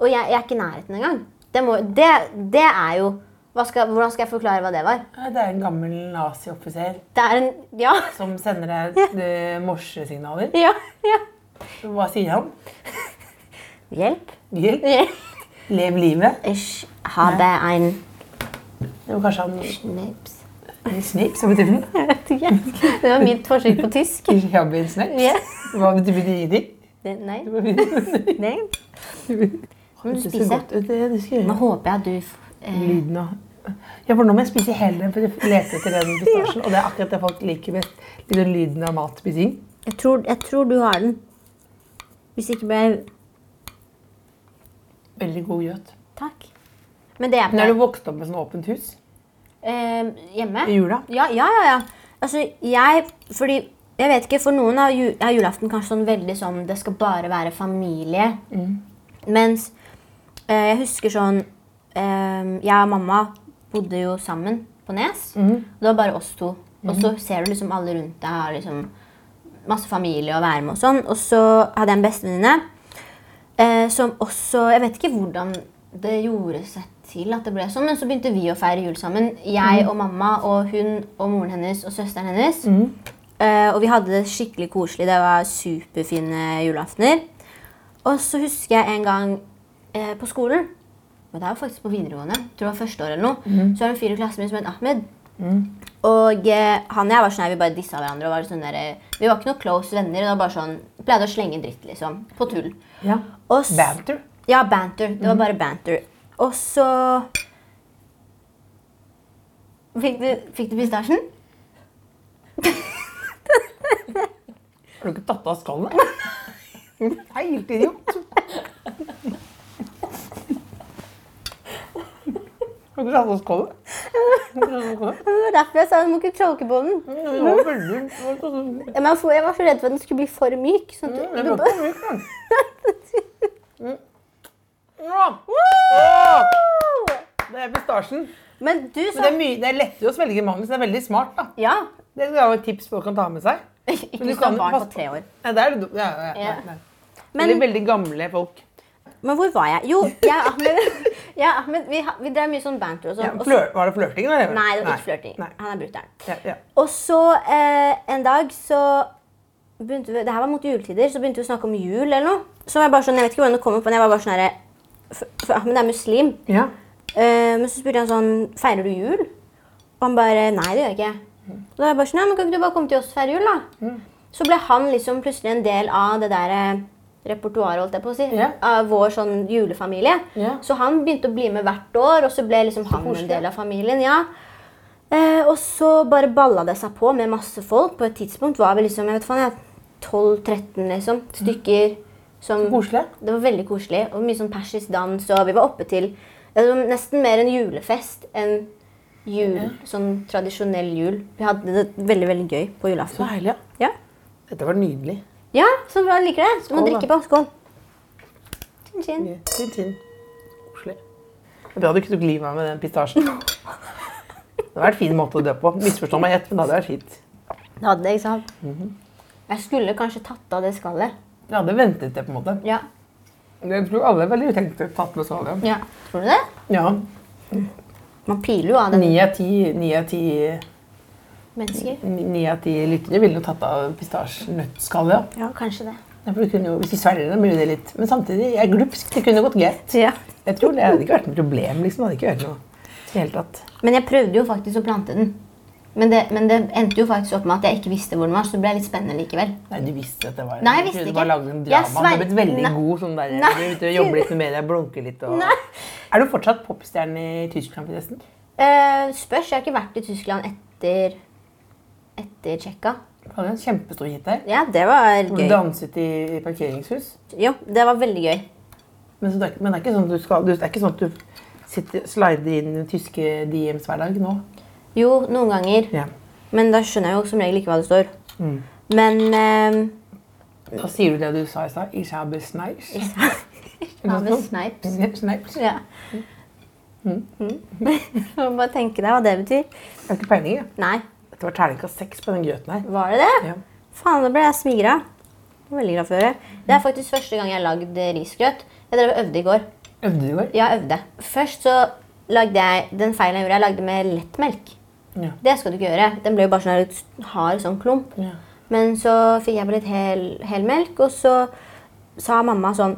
D: Og jeg, jeg er ikke i nærheten engang. Det, må, det, det er jo hva skal, Hvordan skal jeg forklare hva det var?
C: Ja, Det er en gammel nazioffiser
D: Det er en Ja.
C: som sender deg eh, morsesignaler.
D: Ja. ja.
C: Hva sier han?
D: Hjelp.
C: Hjelp, lev livet.
D: Ich habe ein
C: Det var kanskje han
D: Knips.
C: en snip som betyr den.
D: Jeg vet ikke. Det var mitt forsøk på tysk.
C: Ich habe en snip.
D: Ja.
C: Hva betyr det i ditt?
D: Det- Nei.
C: Det
D: Nei. Kan du
C: ser
D: spise?
C: godt ut, det du skal
D: Nå
C: gjøre.
D: håper jeg at du f- eh,
C: Lyden av ja, for nå må jeg spise hele den, for jeg leter etter den pistasjen. Og det er akkurat det folk liker best. Litt den lyden av matspising.
D: jeg tror, jeg tror du har den. Hvis ikke blir jeg
C: Veldig god gjøt.
D: Takk. Men det er
C: Men er du
D: på
C: vokst opp med sånn åpent hus
D: eh, hjemme.
C: i jula?
D: Ja, ja, ja. ja. Altså, jeg Fordi jeg vet ikke, for noen er, ju, er julaften kanskje sånn veldig sånn Det skal bare være familie. Mens eh, jeg husker sånn eh, Jeg og mamma bodde jo sammen på Nes. Det var bare oss to. Og så ser du liksom alle rundt deg har liksom masse familie å være med og sånn. Og så hadde jeg en bestevenninne eh, som også Jeg vet ikke hvordan det gjorde seg til at det ble sånn, men så begynte vi å feire jul sammen. Jeg og mamma og hun og moren hennes og søsteren hennes. Eh, og vi hadde det skikkelig koselig. Det var superfine julaftener. Og så husker jeg en gang eh, på skolen Men det er jo faktisk på videregående. Tror det var første år eller noe. Så var det en fyr i klassen min som het Ahmed. Og eh, han og jeg var sånn her, vi bare dissa hverandre. og var sånn der, eh, Vi var ikke noe close venner. Det var bare sånn, Pleide å slenge dritt, liksom. På tull.
C: Ja.
D: Og s-
C: Banter. Mm.
D: Ja, banter. Det var bare banter. Og så Fikk du, fikk du pistasjen?
C: Har du ikke tatt av skallet? Helt idiot. Har du tatt av skallet?
D: Det var derfor jeg sa du må ikke tråkke på den.
C: Det var veldig... det var sånn-
D: Ja, men Jeg var- jeg var så redd for at den skulle bli for myk. Sånn at du,
C: det
D: du
C: var
D: bare,
C: ikke mykt, Mm, den. Mm. Åh! Det er pistasjen.
D: men du
C: Men det er,
D: sa
C: mye, det er lettere å svelge mange, så det er veldig smart. da.
D: Ja.
C: Det er jo et tips folk kan ta med seg.
D: Ikke
C: du
D: hvis du har
C: kan-
D: barn
C: pass-
D: på tre år.
C: Nei, det er det du- ja, ja, ja,
D: Ja.
C: nei.
D: Men-
C: Veldig, veldig gamle folk.
D: Men hvor var jeg? Jo, jeg og Ahmed, jeg og Ahmed vi, ha- vi drev mye sånn banter og
C: Ja,
D: sånn. og så-
C: flør, var det flørting? eller?
D: Nei, det var ikke flørting.
C: Nei.
D: Han er brutter'n.
C: Ja, ja.
D: Og så eh, en dag så begynte vi, Det her var mot juletider, så begynte vi å snakke om jul eller noe. Så var jeg bare sånn, jeg vet ikke hvordan det kom opp, men jeg var bare sånn herre For for Ahmed er muslim.
C: Ja.
D: Eh, men så spurte han sånn Feirer du jul? Og han bare Nei, det gjør jeg ikke. Og da var jeg bare sånn Nei, men kan ikke du bare komme til oss og feire jul, da?
C: Mm.
D: Så ble han liksom plutselig en del av det der eh, repertoaret, holdt jeg på å si.
C: Ja.
D: Av vår sånn julefamilie.
C: Ja.
D: Så han begynte å bli med hvert år, og så ble liksom han
C: koselig.
D: en del av familien. ja. Eh, og så bare balla det seg på med masse folk. På et tidspunkt var vi liksom jeg vet faen, jeg, 12-13 liksom, stykker. Som,
C: Mm. koselig.
D: Det var veldig koselig. Og mye sånn persisk dans. Og vi var oppe til det var nesten mer en julefest enn jul. Sånn tradisjonell jul. Vi hadde det veldig veldig gøy på
C: Så
D: julaften.
C: herlig. ja.
D: Ja,
C: Dette var nydelig.
D: ja så bra. Jeg liker det. Du må
C: Skål, da.
D: drikke på. Skål. Chin, chin.
C: Chin, chin. Koselig. Det er Bra du ikke tok livet av med den pistasjen. Det hadde vært en fin måte å dø på. Misforstå meg ett, men det hadde vært fint.
D: Det hadde jeg, ikke sant? Jeg skulle kanskje tatt av det skallet.
C: Jeg hadde ventet det, på en måte.
D: Ja.
C: Jeg tror alle er veldig utenkte tatt med salen.
D: ja. Tror du det?
C: Ja.
D: Man piler jo av den
C: Ni av ti ni av ti-
D: mennesker.
C: ni av ti lyttere ville jo tatt av pistasjenøttskallet. ja.
D: Ja, kanskje det.
C: Ja, for det kunne jo- Hvis de svelger det, blir det litt Men samtidig, jeg er glupsk. Det kunne gått greit.
D: Ja.
C: Jeg tror Det hadde ikke vært noe problem. liksom. Det hadde ikke vært noe i det hele tatt.
D: Men jeg prøvde jo faktisk å plante den. Men det, men det endte jo faktisk opp med at jeg ikke visste hvor den var, så det ble litt spennende likevel.
C: Nei, du visste at det var
D: Nei, jeg visste
C: Du
D: ikke.
C: bare lagde en
D: Jeg
C: drama. Du har
D: sver-
C: blitt veldig
D: Nei.
C: god sånn der.
D: Nei.
C: Du er ute og jobber litt med media, blunker litt og
D: Nei.
C: Er du fortsatt popstjerne i Tyskland, forresten?
D: Eh, spørs. Jeg har ikke vært i Tyskland etter etter Tsjekka.
C: Du hadde en kjempestor hit der.
D: Ja, det var
C: Hvor du
D: gøy.
C: danset i parkeringshus.
D: Jo, det var veldig gøy.
C: Men, så det, er, ikke- men det er ikke sånn at du skal du, Det er ikke sånn at du sitter, slider inn i tyske DMs hver dag nå?
D: Jo, noen ganger.
C: Ja.
D: Men da skjønner jeg jo som regel ikke hva det står. Men eh,
C: Da sier du det du sa i stad. Ich habe Snipes.
D: ja, med snipes.
C: Snipes. Jeg
D: Ja. Mm. Bare tenke deg hva det betyr.
C: har ikke peiling, jeg.
D: Nei.
C: Dette Det var terningkast seks på den grøten her.
D: Var det det?
C: Ja.
D: Faen, da ble jeg smigra. Veldig glad for å høre. Det er faktisk første gang jeg har lagd risgrøt. Jeg drev og øvde i går.
C: Øvde du i går?
D: Jeg øvde. Først så lagde jeg den feilen jeg gjorde, jeg lagde med lettmelk.
C: Ja.
D: Det skal du ikke gjøre. Den ble jo bare sånn her litt hard sånn klump.
C: Ja.
D: Men så fikk jeg på litt hel, hel melk, og så sa mamma sånn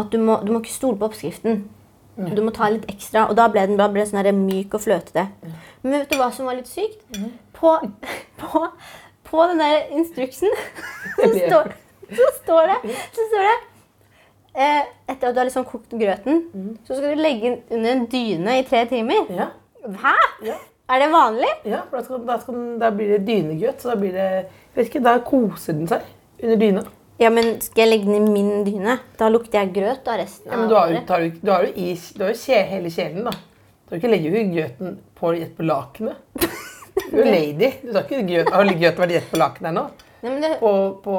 D: at du må, du må ikke stole på oppskriften. Du må ta litt ekstra, og da ble den da ble den sånn her myk og fløtete. Men vet du hva som var litt sykt?
C: Mhm.
D: På, på, på den der instruksen så står, så står det, så står det eh, Etter at du har liksom kokt grøten,
C: Mhm.
D: så skal du legge den under en dyne i tre timer.
C: Ja.
D: Hæ?
C: Ja.
D: Er det vanlig?
C: ja for da, skal, da, skal, den- da blir det dynegrøt, så da blir det Jeg vet ikke, da koser den seg under dyna.
D: Ja, men skal jeg legge den i min dyne? Da lukter jeg grøt av resten
C: Ja, men
D: av
C: du har jo,
D: året.
C: tar, jo- du har jo, i, du har jo kje, hele kjelen, da. Du har ikke legger jo ikke grøten på, rett på lakenet. Du er jo lady. Du tar ikke grøt, har grøt vært rett på lakenet her nå?
D: Nei, men det,
C: På, på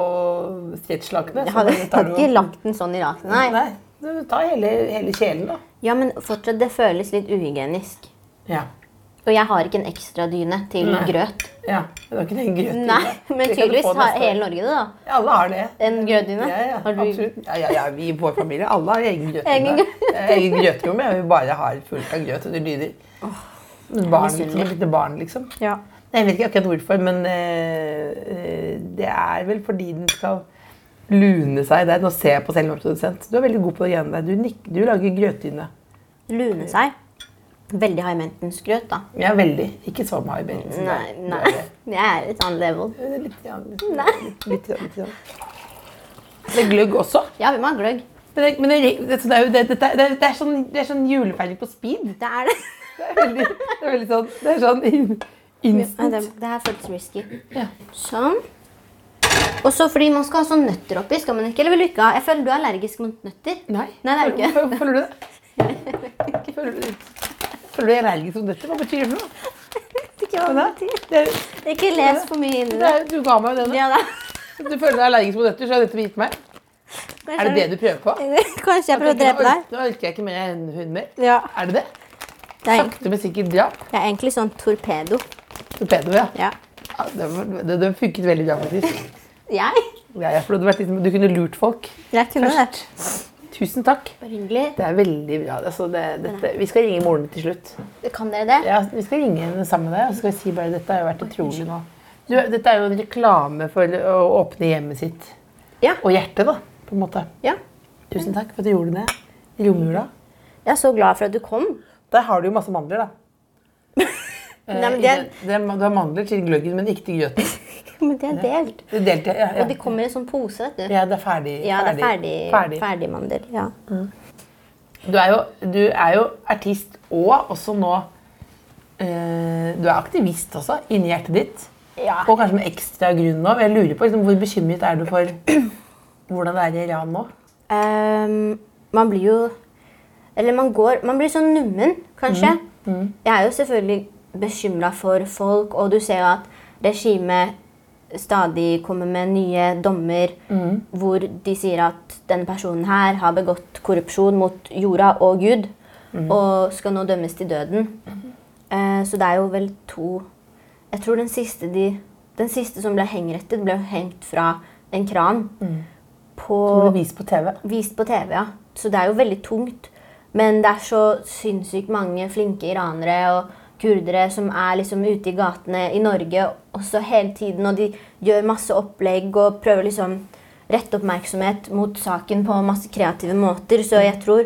C: stretchlakenet?
D: jeg
C: så
D: hadde,
C: bare
D: jeg
C: tar
D: hadde
C: du-
D: ikke lagt den sånn i raken, nei.
C: Nei, du tar hele, hele kjelen, da.
D: Ja, men fortsatt, det føles litt uhygienisk.
C: Ja.
D: Og jeg har ikke en ekstra dyne til
C: Nei.
D: grøt.
C: ja. Men du har ikke den grøten.
D: Nei,
C: da.
D: men
C: Det kan du
D: tydeligvis
C: få
D: har
C: neste år.
D: hele Norge det, da.
C: Ja, Alle har det.
D: En grøtdyne.
C: Ja, ja,
D: Har du-
C: absolutt. Ja, ja, ja, vi i vår familie, alle har egen
D: Egen
C: grøtrom. Egen grøtrom, ja. Vi bare har fullt av grøt under dyner. Barn,
D: misunnelig.
C: som et lite barn, liksom.
D: Ja.
C: Jeg vet ikke akkurat hvorfor, men eh, eh, det er vel fordi den skal lune seg der. Nå ser jeg på selv om jeg er produsent. Du er veldig god på det greiene der. Du, nik- du lager grøtdyne.
D: Lune seg. Veldig high maintenance grøt, da.
C: Ja, veldig. Ikke så mye liksom, Bensen.
D: Nei, nei. Jeg er et annet level.
C: Litt, ja, litt,
D: Nei.
C: litt, litt, litt, ja. Det er gløgg også.
D: Ja, vi må ha gløgg.
C: Men det, men det, det, det, er jo- det, det, det, er- det er sånn, det er sånn julefeiring på speed.
D: Det er det.
C: Det er veldig, det er veldig sånn, det er sånn in-
D: Nei,
C: instant.
D: Det, det her føltes risky.
C: Ja.
D: Sånn. Og så fordi man skal ha sånn nøtter oppi, skal man ikke? Eller vil du ikke ha? Jeg føler du er allergisk mot nøtter.
C: Nei,
D: Nei, det er det ikke.
C: Føler- Føler du det? Føler du Føler du deg allergisk mot dette? Hva betyr det for noe? Hva
D: Det
C: Det er,
D: er Ikke les for mye inni
C: det
D: det.
C: er, du ga meg jo det nå.
D: Ja, da.
C: Du føler deg allergisk mot dette, så er dette gitt meg. Er det det du prøver på?
D: Kanskje jeg prøver å drepe deg.
C: Nå orker jeg ikke mer enn hun mer.
D: Ja.
C: Er det det?
D: Det er,
C: Sakte, men sikkert drap.
D: jeg er egentlig sånn torpedo.
C: Torpedo, ja.
D: Ja.
C: ja det, var- det, det funket veldig bra, faktisk.
D: Jeg?
C: Ja, ja, for du, hadde vært, litt- du kunne lurt folk.
D: Jeg kunne det.
C: Tusen takk.
D: Bare hyggelig.
C: Det er veldig bra. Altså, det, dette, vi skal ringe moren til slutt.
D: Kan dere det?
C: Ja, Vi skal ringe henne sammen med deg og så skal vi si bare dette har jo vært utrolig nå. Du, dette er jo en reklame for å åpne hjemmet sitt.
D: Ja.
C: Og hjertet, da. på en måte.
D: Ja.
C: Tusen takk for at du gjorde det i romjula.
D: Jeg er så glad for at du kom.
C: Der har du jo masse mandler, da. Eh,
D: Nei, men
C: i
D: det,
C: den- det- du har mandler til gløggen, men ikke til grøten.
D: men det er delt.
C: Det delte jeg. Ja, ja.
D: Og de kommer i en sånn pose, vet du.
C: ja, det er ferdig.
D: Ja, det er ferdig,
C: ferdig.
D: ferdig mandel. Ja.
C: Du, er jo, du er jo artist og også nå eh, Du er aktivist også, inni hjertet ditt.
D: ja.
C: Og kanskje med ekstra grunn nå. Jeg lurer på liksom, Hvor bekymret er du for hvordan det er i Iran nå?
D: Ehm, man blir jo Eller man går Man blir sånn nummen, kanskje. Jeg er jo selvfølgelig bekymra for folk, og du ser jo at regimet stadig kommer med nye dommer hvor de sier at denne personen her har begått korrupsjon mot jorda og Gud, og skal nå dømmes til døden. Eh, så det er jo vel to Jeg tror den siste, de, den siste som ble hengrettet, ble hengt fra en kran. På
C: Som du viser på TV.
D: vist på TV, ja. Så det er jo veldig tungt. Men det er så sinnssykt mange flinke iranere og kurdere som er liksom ute i gatene i Norge også hele tiden, og de gjør masse opplegg og prøver liksom rette oppmerksomhet mot saken på masse kreative måter, så jeg tror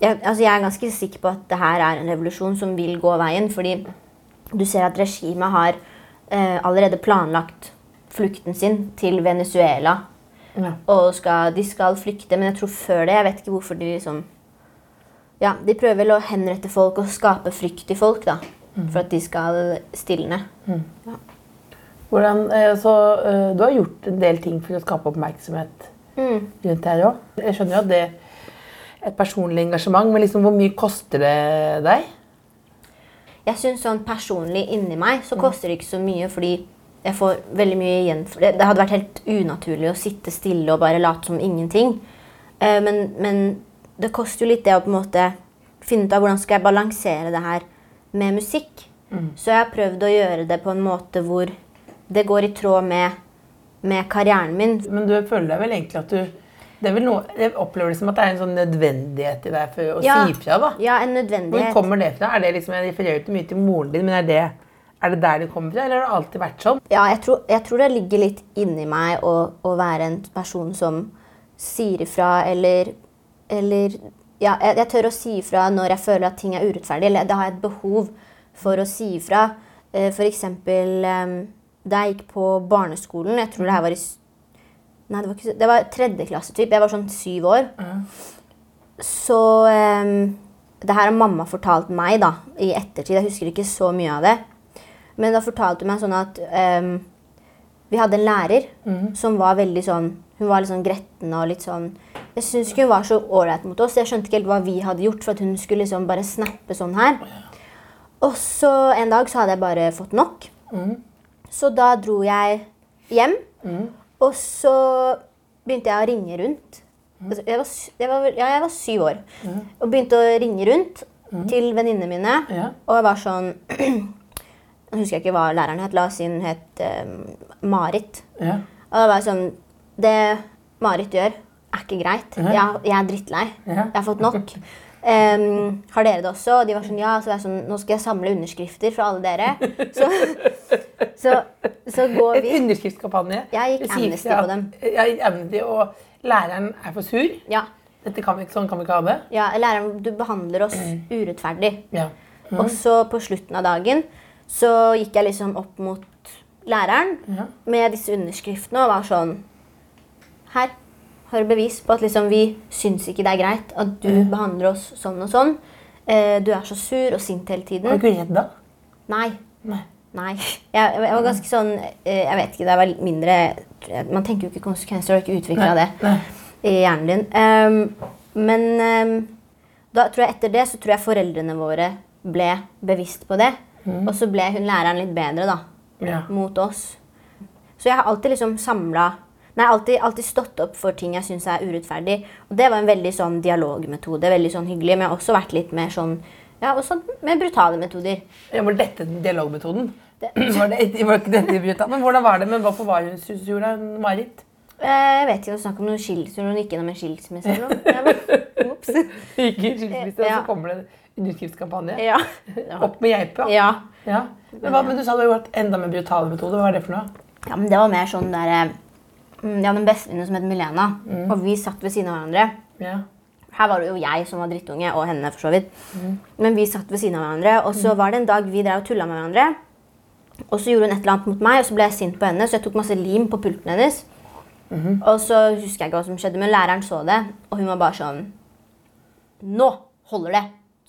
D: jeg, altså jeg er ganske sikker på at det her er en revolusjon som vil gå veien, fordi du ser at regimet har eh, allerede planlagt flukten sin til Venezuela og skal, de skal flykte, men jeg tror før det Jeg vet ikke hvorfor de liksom Ja, de prøver vel å henrette folk og skape frykt i folk, da. For at de skal stilne.
C: Hvordan, eh, så, eh, du har gjort en del ting for å skape oppmerksomhet rundt det her òg. Jeg skjønner jo at det er et personlig engasjement, men liksom, hvor mye koster det deg?
D: Jeg synes sånn personlig inni meg
C: Mm.
D: så koster det ikke så mye, fordi jeg får veldig mye igjen for det. Det hadde vært helt unaturlig å sitte stille og bare late som ingenting. Eh, Men, men det koster jo litt det å på en måte finne ut av hvordan skal jeg balansere det her med musikk.
C: Mm.
D: Så jeg har prøvd å gjøre det på en måte hvor det går i tråd med, med karrieren min.
C: Men du føler deg vel egentlig at du det er vel noe, Jeg opplever det som at det er en sånn nødvendighet i deg for å si fra. da.
D: ja en
C: Hvor
D: nødvendighet.
C: kommer det fra? Er det liksom, Jeg refererer jo til mye til moren din, men er det, er det der det kommer fra? Eller har det alltid vært sånn?
D: Ja, jeg tror, jeg tror det ligger litt inni meg å, å være en person som sier ifra, eller, eller ja, jeg, jeg tør å si ifra når jeg føler at ting er urettferdig, eller da har jeg et behov for å si ifra. Eh, For eksempel eh, da jeg gikk på barneskolen, jeg tror det her var i s- Nei, det var, ikke, s- det var tredje klasse, typ. Jeg var sånn syv år. Så eh, Det her har mamma fortalt meg da, i ettertid. Jeg husker ikke så mye av det. Men da fortalte hun meg sånn at ehm, vi hadde en lærer som var veldig sånn Hun var litt sånn gretten og litt sånn Jeg syns ikke hun var så ålreit mot oss. Jeg skjønte ikke helt hva vi hadde gjort for at hun skulle liksom bare snappe sånn her. Og så en dag så hadde jeg bare fått nok. Så da dro jeg hjem. Og så begynte jeg å ringe rundt. Altså, Jeg var, sy- jeg var, vel- ja, jeg var syv år. Og begynte å ringe rundt til venninnene mine.
C: Ja.
D: Og jeg var sånn Nå husker jeg ikke hva læreren het. La oss si hun het eh, Marit.
C: Ja.
D: Og det var jeg sånn Det Marit gjør, er ikke greit. Jeg, jeg er drittlei.
C: Ja.
D: Jeg har fått nok. Ehm, har dere det også? Og de var sånn, ja. Så var jeg sånn, nå skal jeg samle underskrifter fra alle dere. Så, så, så går
C: En
D: vi.
C: underskriftskampanje.
D: Jeg gikk
C: Du sier
D: Amnesty
C: ikke
D: på dem.
C: Ja, jeg gikk Amnesty, og læreren er for sur.
D: Ja,
C: Dette kan vi, ikke- sånn kan vi ikke ha det.
D: ja, læreren, du behandler oss urettferdig.
C: Ja.
D: Og så på slutten av dagen så gikk jeg liksom opp mot læreren
C: Ja.
D: med disse underskriftene og var sånn Her har du bevis på at liksom vi syns ikke det er greit at du behandler oss sånn og sånn. Eh, Du er så sur og sint hele
C: Var
D: tiden.
C: du ikke redd da?
D: Nei.
C: Nei.
D: Nei. Jeg, jeg var ganske sånn eh, Jeg vet ikke, det var litt mindre Man tenker jo ikke konsekvenser og har ikke utvikla det
C: Nei.
D: i hjernen din. Ehm, men ehm, da tror jeg etter det så tror jeg foreldrene våre ble bevisst på det. Og så ble hun læreren litt bedre da,
C: Ja.
D: mot oss. Så jeg har alltid liksom samla Nei, alltid, alltid stått opp for ting jeg syns er urettferdig. Og det var en veldig sånn dialogmetode. veldig sånn hyggelig, Men jeg har også vært litt mer sånn ja, også med brutale metoder.
C: Ja, var dette dialogmetoden? Var det, var ikke dette brutt, da? Men hvordan var det? Men hvorfor var hun sur, sur da, hun Marit?
D: Eh, Jeg vet ikke, snakk om noen skilsmisse. Hun gikk gjennom en skilsmisse eller noe. Jeg bare, Ops.
C: Gikk i skilsmisse, og
D: Ja.
C: så kommer det en underskriftskampanje.
D: Ja.
C: Opp med geipa.
D: ja.
C: Ja. Men, hva, men du sa du hadde gjort enda mer brutale metoder. Hva er det for noe?
D: Ja, men det var mer sånn der eh, mm, Jeg hadde en bestevenninne som het Milena, og vi satt ved siden av hverandre.
C: Ja.
D: Her var det jo jeg som var drittunge, og henne for så vidt. Men vi satt ved siden av hverandre, og så var det en dag vi drev og tulla med hverandre. Og så gjorde hun et eller annet mot meg, og så ble jeg sint på henne, så jeg tok masse lim på pulten hennes. Og så husker jeg ikke hva som skjedde, men læreren så det, og hun var bare sånn Nå holder det!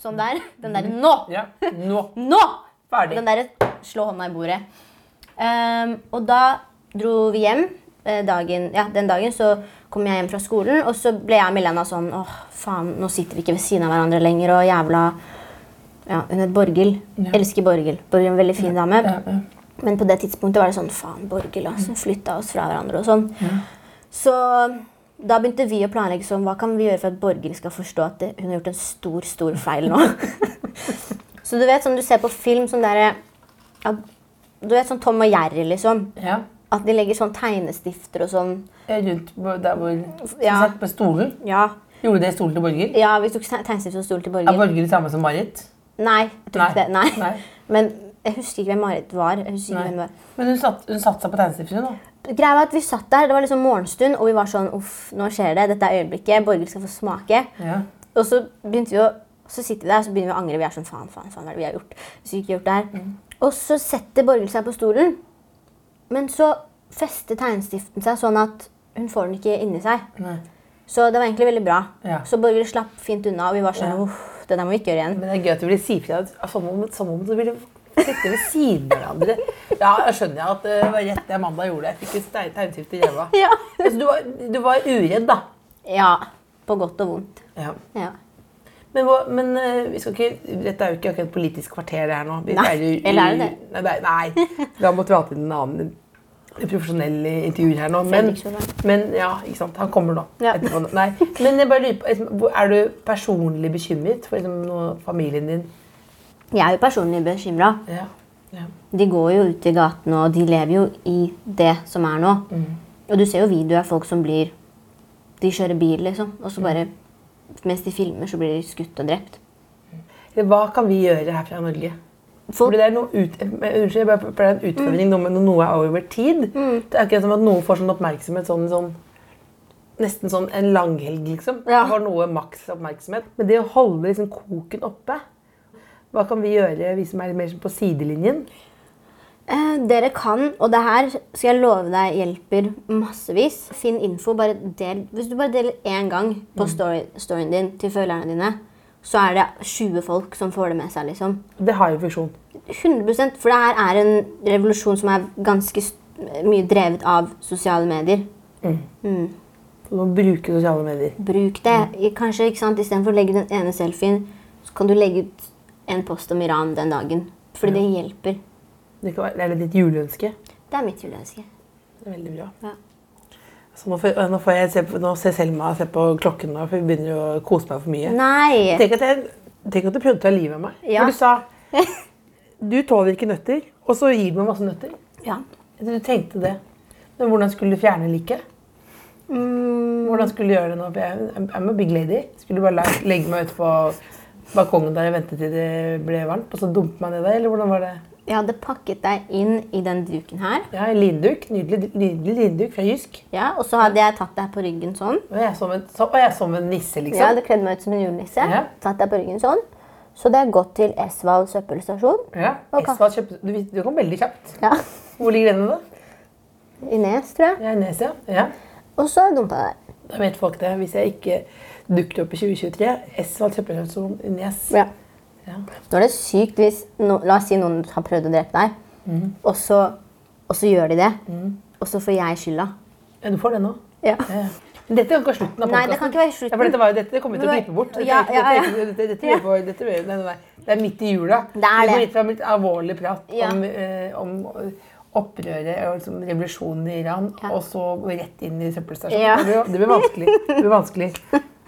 D: Sånn der. Den derre nå!
C: ja. Nå.
D: Nå!
C: Ferdig.
D: Den derre slå hånda i bordet. Ehm, og da dro vi hjem. eh, Dagen, ja, den dagen så kom jeg hjem fra skolen, og så ble jeg og Milena sånn åh, faen, nå sitter vi ikke ved siden av hverandre lenger, og jævla Ja, hun het Borghild. Elsker Borghild. Borghild er en veldig fin dame.
C: Ja, ja.
D: Men på det tidspunktet var det sånn Faen, Borghild altså, flytta oss fra hverandre og sånn. Så da begynte vi å planlegge sånn Hva kan vi gjøre for at Borghild skal forstå at det, hun har gjort en stor, stor feil nå? så du vet sånn du ser på film sånn derre at- Du vet sånn Tom og Jerry, liksom.
C: ja.
D: At de legger sånn tegnestifter og sånn.
C: Rundt på- der hvor Som
D: Ja.
C: satt på stolen.
D: Ja,
C: Gjorde det stolen til Borghild?
D: ja vi tok te- tegnestifter og stol til
C: Er
D: Borghild.
C: Borghild det samme som Marit?
D: Nei, jeg tror ikke det. Nei.
C: Nei.
D: Men jeg husker ikke hvem Marit var. Jeg husker ikke
C: Nei.
D: hvem det var.
C: Men hun satt- hun satsa på tegnestifteren, da.
D: Greia var at Vi satt der, det var liksom morgenstund, og vi var sånn Uff, nå skjer det. Dette er øyeblikket. Borghild skal få smake.
C: Ja.
D: Og så begynte vi å så sitter vi der og så begynner vi å angre. Vi er sånn faen, faen, faen, hva er det vi har gjort? Hvis vi ikke har gjort det her.
C: Mm.
D: Og så setter Borghild seg på stolen, men så fester tegnestiften seg sånn at hun får den ikke inni seg.
C: Nei.
D: Så det var egentlig veldig bra.
C: Ja.
D: Så Borghild slapp fint unna, og vi var sånn
C: Ja.
D: uff, det der må vi ikke gjøre igjen.
C: Men det er gøy at du ville si fra. at- Som om, som om du ville sitte ved siden av hverandre. Ja, jeg skjønner jeg at eh, det var rett det Amanda gjorde. Jeg fikk et stein- tegnestift i ræva.
D: Ja.
C: Altså, du, var, du var uredd, da.
D: ja. På godt og vondt. Ja.
C: Men, hva, men eh, vi skal ikke, dette er jo ikke akkurat politisk kvarter, det her nå. Vi
D: Nei,
C: pleier jo-
D: eller er det det?
C: Nei, nei, nei. Da måtte vi hatt inn en annen en profesjonell intervju her nå. Men,
D: Fredrik Solvang.
C: men ja, ikke sant. Han kommer nå.
D: Ja.
C: Etterpå, nei. Men jeg bare lurer på, liksom, hvor- er du personlig bekymret for liksom, noe familien din
D: Jeg er jo personlig bekymra.
C: Ja. ja.
D: De går jo ut i gatene, og de lever jo i det som er nå.
C: Mm.
D: Og du ser jo videoer av folk som blir De kjører bil, liksom, og så bare Mens de filmer, så blir de skutt og drept.
C: Eller Hva kan vi gjøre her fra Norge?
D: Folk,
C: Fordi det er noe ut,
D: Mm.
C: eh, unnskyld, jeg bare pleier en utfordring noe med når noe er over tid.
D: Mm.
C: Det er akkurat som at noen får sånn oppmerksomhet sånn, sånn Nesten sånn en langhelg, liksom.
D: Ja.
C: Får noe maks oppmerksomhet. Men det å holde liksom koken oppe Hva kan vi gjøre, vi som er litt mer sånn på sidelinjen?
D: eh, dere kan, og det her skal jeg love deg hjelper massevis Finn info. bare del, Hvis du bare deler én gang
C: Mm.
D: på story, storyen din til følgerne dine, så er det 20 folk som får det med seg. liksom.
C: Det har jo funksjon.
D: 100 For det her er en revolusjon som er ganske s- mye drevet av sosiale medier.
C: Du må bruke sosiale medier.
D: Bruk det.
C: Mm.
D: I- Kanskje ikke sant, Istedenfor å legge den ene selfien, så kan du legge ut en post om Iran den dagen. Fordi det hjelper.
C: Det, kan være, det er litt ditt juleønske.
D: Det er mitt juleønske.
C: Det er veldig bra.
D: Ja.
C: Så nå, får, nå, får jeg se på, nå ser Selma og ser på klokken nå, for vi begynner jo å kose meg for mye.
D: Nei!
C: Tenk at, jeg, tenk at du prøvde å ta livet av meg.
D: Ja.
C: For du sa du tåler ikke nøtter, og så gir du meg masse nøtter.
D: Ja.
C: Du tenkte det. Men hvordan skulle du fjerne liket?
D: Mm,
C: Hvordan skulle du gjøre det nå? For jeg I'm- I'm a big lady. Skulle du bare la- legge meg ute på balkongen der og vente til det ble varmt, og så dumpe meg ned der? Eller hvordan var det?
D: Jeg hadde pakket deg inn i den duken her.
C: Ja, en linduk. Nydelig, nydelig linduk fra Jysk.
D: Ja, og så hadde jeg tatt deg på ryggen sånn.
C: Og jeg som en, så, og jeg som en nisse, liksom.
D: Jeg hadde kledd meg ut som en julenisse.
C: Ja.
D: Tatt deg på ryggen sånn. Så det er gått til Esval søppelstasjon.
C: Ja,
D: Ok.
C: Esval kjøpte, du, vis- du kom veldig kjapt.
D: Ja.
C: Hvor ligger den da?
D: I Nes, tror jeg.
C: Jeg er i Nes, ja. ja.
D: Og så dumpa jeg deg.
C: Da vet folk det. Hvis jeg ikke dukket opp i 2023, Esval kjøpestasjon i Nes.
D: Ja.
C: Ja.
D: Nå er det sykt hvis no, La oss si noen har prøvd å drepe deg, og, så, og så gjør de det. Og så får jeg skylda.
C: Ja, du får den nå.
D: Ja.
C: Ja, ja. Men dette kan ikke være slutten av podcasten.
D: Nei, det kan ikke være slutten.
C: Ja, for dette, var, jo- dette kommer vi til å
D: Men-
C: klippe bort. Dette,
D: Ja,
C: er ikke-
D: ja, ja.
C: Dette, dette, dette, blir for- dette, blir- nei, nei, nei. Det er midt i jula.
D: Det er
C: Vi går
D: det.
C: litt fra litt alvorlig prat
D: Ja.
C: om, eh, om opprøret og liksom revolusjonen i Iran,
D: Ja.
C: og så rett inn i søppelstasjonen.
D: Ja.
C: Det, blir, det blir vanskelig. Det blir vanskelig.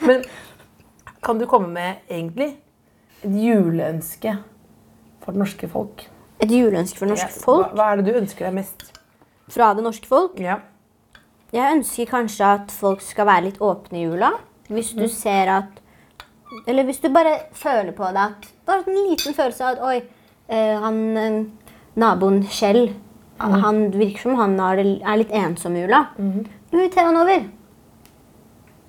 C: Men kan du komme med egentlig et juleønske for det norske folk?
D: Et juleønske for det norske folk.
C: Hva, hva er det du ønsker deg mest?
D: Fra det norske folk.
C: Ja.
D: Jeg ønsker kanskje at folk skal være litt åpne i jula. Hvis du ser at Eller hvis du bare føler på det at Bare en liten følelse av at oi, eh, han eh, naboen Kjell Han virker som han har, det- er litt ensom i jula. Inviter han over.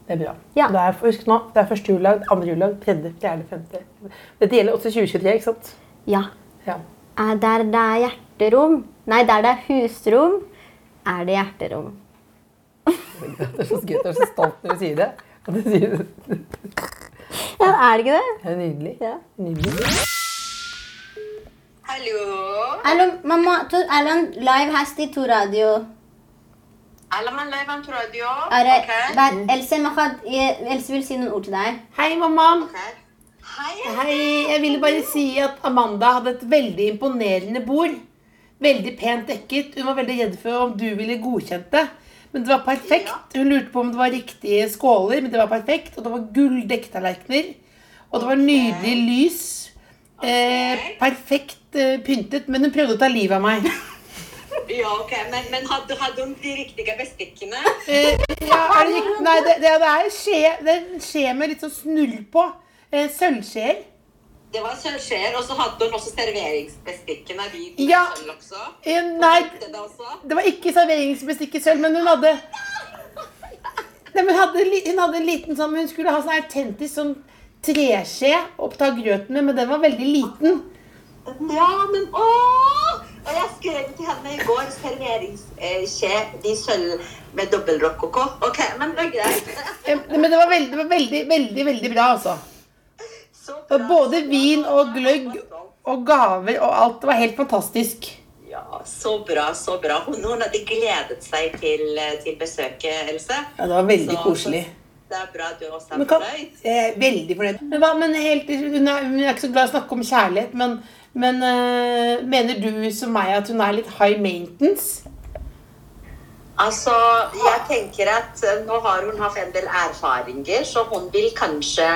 C: Det er bra.
D: Ja.
C: Det, er, husk nå, det er første juledag, andre juledag, tredje, fjerde, femte. Dette gjelder også 2023, ikke sant?
D: Ja.
C: Ja.
D: Er der det er hjerterom Nei, der det er husrom, er det hjerterom.
C: Det er så skøy, du er så stolt når du sier det. At du sier det.
D: Ja, er det ikke det?
C: det er nydelig.
D: Ja.
C: nydelig.
E: Hallo.
D: Hallo, mamma. To, Erland, live hasti to radio.
E: Alle mann live on radio.
D: Er det,
E: Ok.
D: vær, Else, Mahad, jeg- Else vil si noen ord til deg.
C: Hei, mamma.
E: Ok. Hei.
C: Hei. Jeg ville bare si at Amanda hadde et veldig imponerende bord. Veldig pent dekket. Hun var veldig redd for om du ville godkjent det. Men det var perfekt. Hun lurte på om det var riktige skåler, men det var perfekt. Og det var gulldekktallerkener. Og det var nydelig lys. Eh, perfekt eh, pyntet. Men hun prøvde å ta livet av meg.
E: Ja, ok. Men, men hadde, hadde hun de riktige bestikkene?
C: Ja, er det riktig? Nei, det, det, det er en skje, det er en skje med litt sånn snull på. Eh, Sølvskjeer.
E: Det var sølvskjeer, og så hadde hun også serveringsbestikkene. Hvit med
C: Ja.
E: sølv også.
C: Eh, nei,
E: Likte det også.
C: det var ikke serveringsbestikk i sølv, men hun hadde Nei, men hun hadde, li- hun hadde en liten sånn Hun skulle ha sånn autentisk sånn treskje å ta grøten med, men den var veldig liten.
E: Ja, men åh! Og jeg skrev til henne i går serveringsskje i sølv med dobbel rokoko. Ok, men det er greit.
C: Eh, Men det var veldig, det var veldig, veldig, veldig bra, altså.
E: Så
C: Og
E: bra.
C: Både vin og gløgg og gaver og alt. Det var helt fantastisk.
E: Ja, så bra, så bra. Hun, hun hadde gledet seg til, til besøket, Else.
C: Ja, det var veldig koselig.
E: Det er bra at du også
C: Men
E: er
C: kan,
E: fornøyd.
C: eh, veldig fornøyd. Men, hva, men helt, til slutt, hun, er, hun er ikke så glad i å snakke om kjærlighet, men, men eh, mener du som meg at hun er litt high maintenance?
E: Altså, jeg tenker at eh, nå har hun hatt en del erfaringer, så hun vil kanskje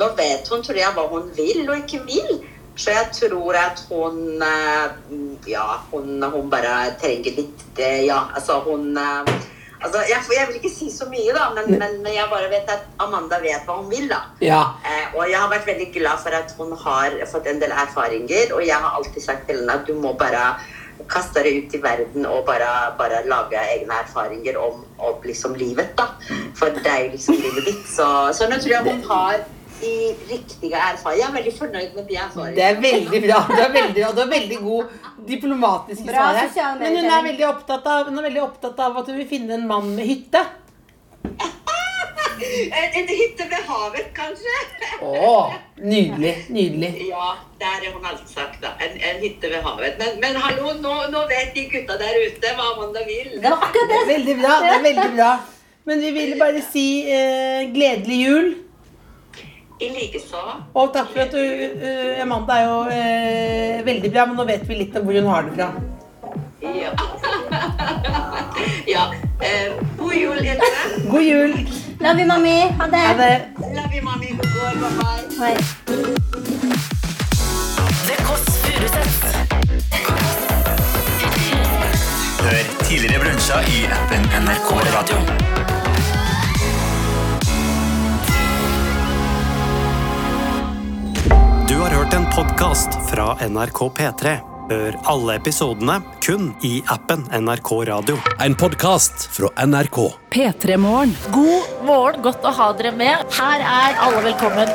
E: Nå vet hun, tror jeg, hva hun vil og ikke vil. Så jag tror att hon, eh, ja, hon, hon bara tränger lite, ja, alltså hon, eh, alltså jag, jag vill inte säga så mycket då, men, men, men jag bara vet att Amanda vet vad hon vill då.
C: Ja.
E: Eh, og jeg har vært veldig glad for at hun har fått en del erfaringer. Og jeg har alltid sagt til henne at du må bare kaste deg ut i verden og bare, bare lage egne erfaringer om, om liksom livet, da. For det er jo liksom livet ditt. Så, så nå tror jeg hun har de riktige erfaringene. Jeg er veldig fornøyd med de
C: Det
E: erfaringene.
C: er veldig bra. Du er veldig, bra. Du er veldig god diplomatisk i
D: Bra
C: svaret. Men hun
D: sosial
C: er,
D: mediekjenning.
C: veldig opptatt av, hun er veldig opptatt av at hun vil finne en mann med hytte.
E: En, en hytte ved havet, kanskje?
C: Å, nydelig. Nydelig.
E: Ja, der har hun alltid sagt, da. En, en hytte ved havet. Men, men hallo, nå, nå vet de gutta der ute hva Amanda vil.
D: Det var akkurat det.
C: Veldig bra. det er veldig bra. Men vi ville bare si eh, gledelig jul.
E: I likeså.
C: Og takk for at du eh, Amanda er jo eh, veldig bra, men nå vet vi litt om hvor hun har det fra.
E: Ja. ja. Eh, god jul, Else.
C: God jul.
D: Love you, mami. Ha det.
C: Ha det.
E: Love you, mommy. God år. Bye bye.
D: Hei.
B: Det Kåss Furuseths.
F: Hør tidligere brunsja i appen NRK Radio.
A: Du har hørt en podkast fra NRK P3. Hør alle episodene kun i appen NRK Radio.
G: En podcast fra NRK.
H: P3-morgen.
B: God morgen, godt å ha dere med. Her er alle velkommen.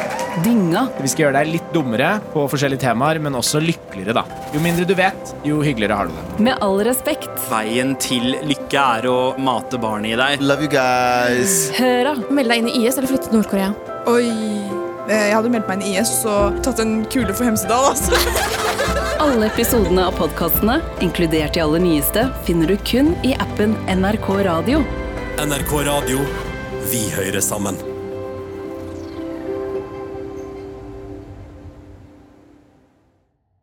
H: Dynga.
I: Vi skal gjøre deg litt dummere på forskjellige temaer, men også lykkeligere, da. Jo mindre du vet, jo hyggeligere har du det.
H: Med all respekt.
J: Veien til lykke er å mate barnet i deg.
F: Love you guys.
H: Høra.
K: Melde deg inn i IS eller flytte til Nord-Korea? Oi. Eh, Jeg hadde meldt meg inn i IS og tatt en kule for Hemsedal. altså.
H: Alle episodene av podkastene, inkludert de aller nyeste, finner du kun i appen NRK Radio.
G: NRK Radio. Vi hører sammen.